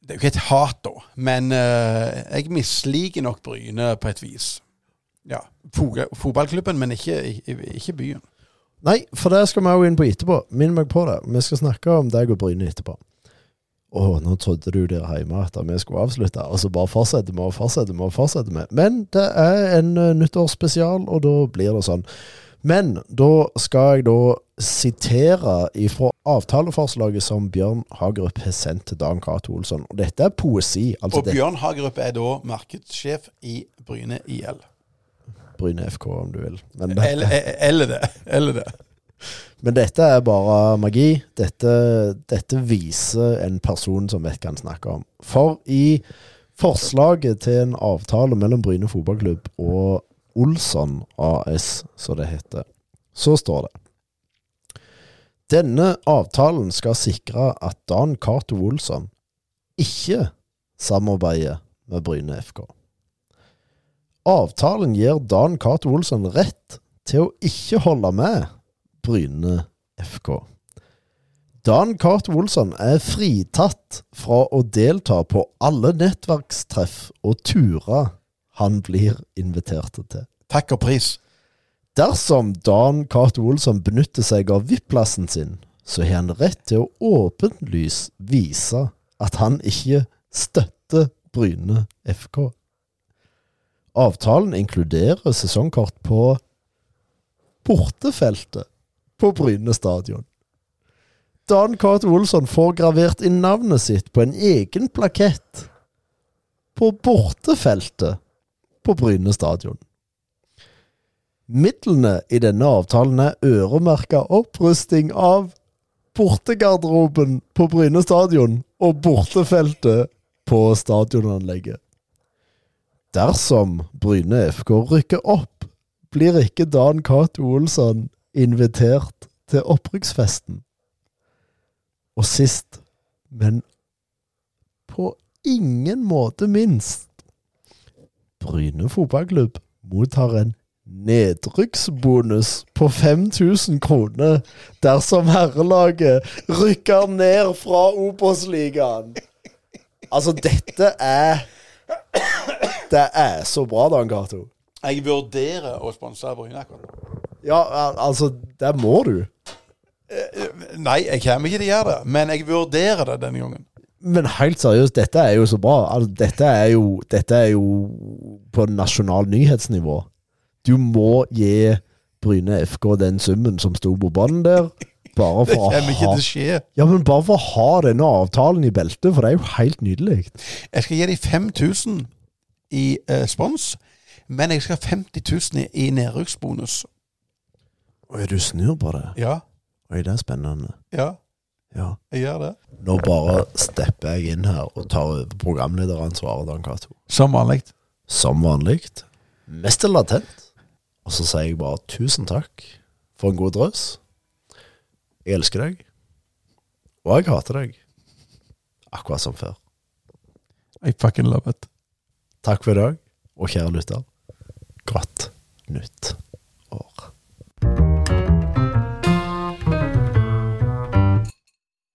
Speaker 2: Det er jo ikke et hat, da, men eh, jeg misliker nok Bryne på et vis. Ja, fo- Fotballklubben, men ikke, ikke- ikke byen.
Speaker 1: Nei, for det skal vi òg inn på etterpå. Minn meg på det. Vi skal snakke om deg og Bryne etterpå. Å, nå trodde du der hjemme at vi skulle avslutte, og så bare fortsetter vi og fortsetter vi og fortsetter vi. Men det er en eh, nyttårsspesial, og da blir det sånn. Men da skal jeg da sitere ifra avtaleforslaget som Bjørn Hagerup har sendt til Dan Cato Olsson. Og dette er poesi. Altså
Speaker 2: Og
Speaker 1: det
Speaker 2: Bjørn Hagerup er da markedssjef i Bryne IL.
Speaker 1: er Bryne FK, om du vil. Men det,
Speaker 2: Eller, eller eh, det. Eller det.
Speaker 1: Men dette er bare magi. Dette, dette viser en person som vet hva han snakker om. For i forslaget til en avtale mellom Bryne fotballklubb og Olsson AS, som det heter, så står det Denne avtalen skal sikre at Dan Cato Olsson ikke samarbeider med Bryne FK. Avtalen gir Dan Cato Olsson rett til å ikke holde med Bryne FK. Dan Cato Olsson er fritatt fra å delta på alle nettverkstreff og turer han blir invitert til.
Speaker 2: Takk og pris.
Speaker 1: Dersom Dan Cato Olsson benytter seg av VIP-plassen sin, så har han rett til å åpenlyst vise at han ikke støtter Bryne FK. Avtalen inkluderer sesongkort på bortefeltet på Bryne stadion. Dan Cato Olsson får gravert inn navnet sitt på en egen plakett på bortefeltet på Bryne stadion. Midlene i denne avtalen er øremerka opprusting av bortegarderoben på Bryne stadion og bortefeltet på stadionanlegget. Dersom Bryne FK rykker opp, blir ikke Dan Cato Olsson invitert til opprykksfesten. Og sist, men på ingen måte minst Bryne fotballklubb mottar en nedrykksbonus på 5000 kroner dersom herrelaget rykker ned fra Obos-ligaen. Altså, dette er Det er så bra, Dan Cato.
Speaker 2: Jeg vurderer å sponse Bryne akkurat.
Speaker 1: Ja, al- altså, der må du.
Speaker 2: Eh, Nei, jeg kommer ikke til å gjøre det, men jeg vurderer det denne gangen.
Speaker 1: Men helt seriøst, dette er jo så bra. Altså, dette, er jo, dette er jo på nasjonal nyhetsnivå. Du må gi Bryne FK den summen som sto på bånn der. Bare
Speaker 2: Det
Speaker 1: for, å
Speaker 2: kommer ikke
Speaker 1: ha,
Speaker 2: til å skje.
Speaker 1: ja, men bare for å ha denne avtalen i beltet, for det er jo helt nydelig.
Speaker 2: Jeg skal gi dem 5000 i eh, spons, men jeg skal ha 50 000 i, i nedrykksbonus.
Speaker 1: Oi, du snur på det.
Speaker 2: Ja,
Speaker 1: Oi, det er spennende.
Speaker 2: ja,
Speaker 1: Ja.
Speaker 2: jeg gjør det.
Speaker 1: Nå bare stepper jeg inn her og tar over programlederansvaret, Dan Cato.
Speaker 2: Som vanlig.
Speaker 1: som vanlig, mest latent. Og så sier jeg bare tusen takk for en god drøs. Jeg elsker deg, og jeg hater deg, akkurat som før.
Speaker 2: I fucking love it.
Speaker 1: Takk for i dag, og kjære lytter, godt nytt.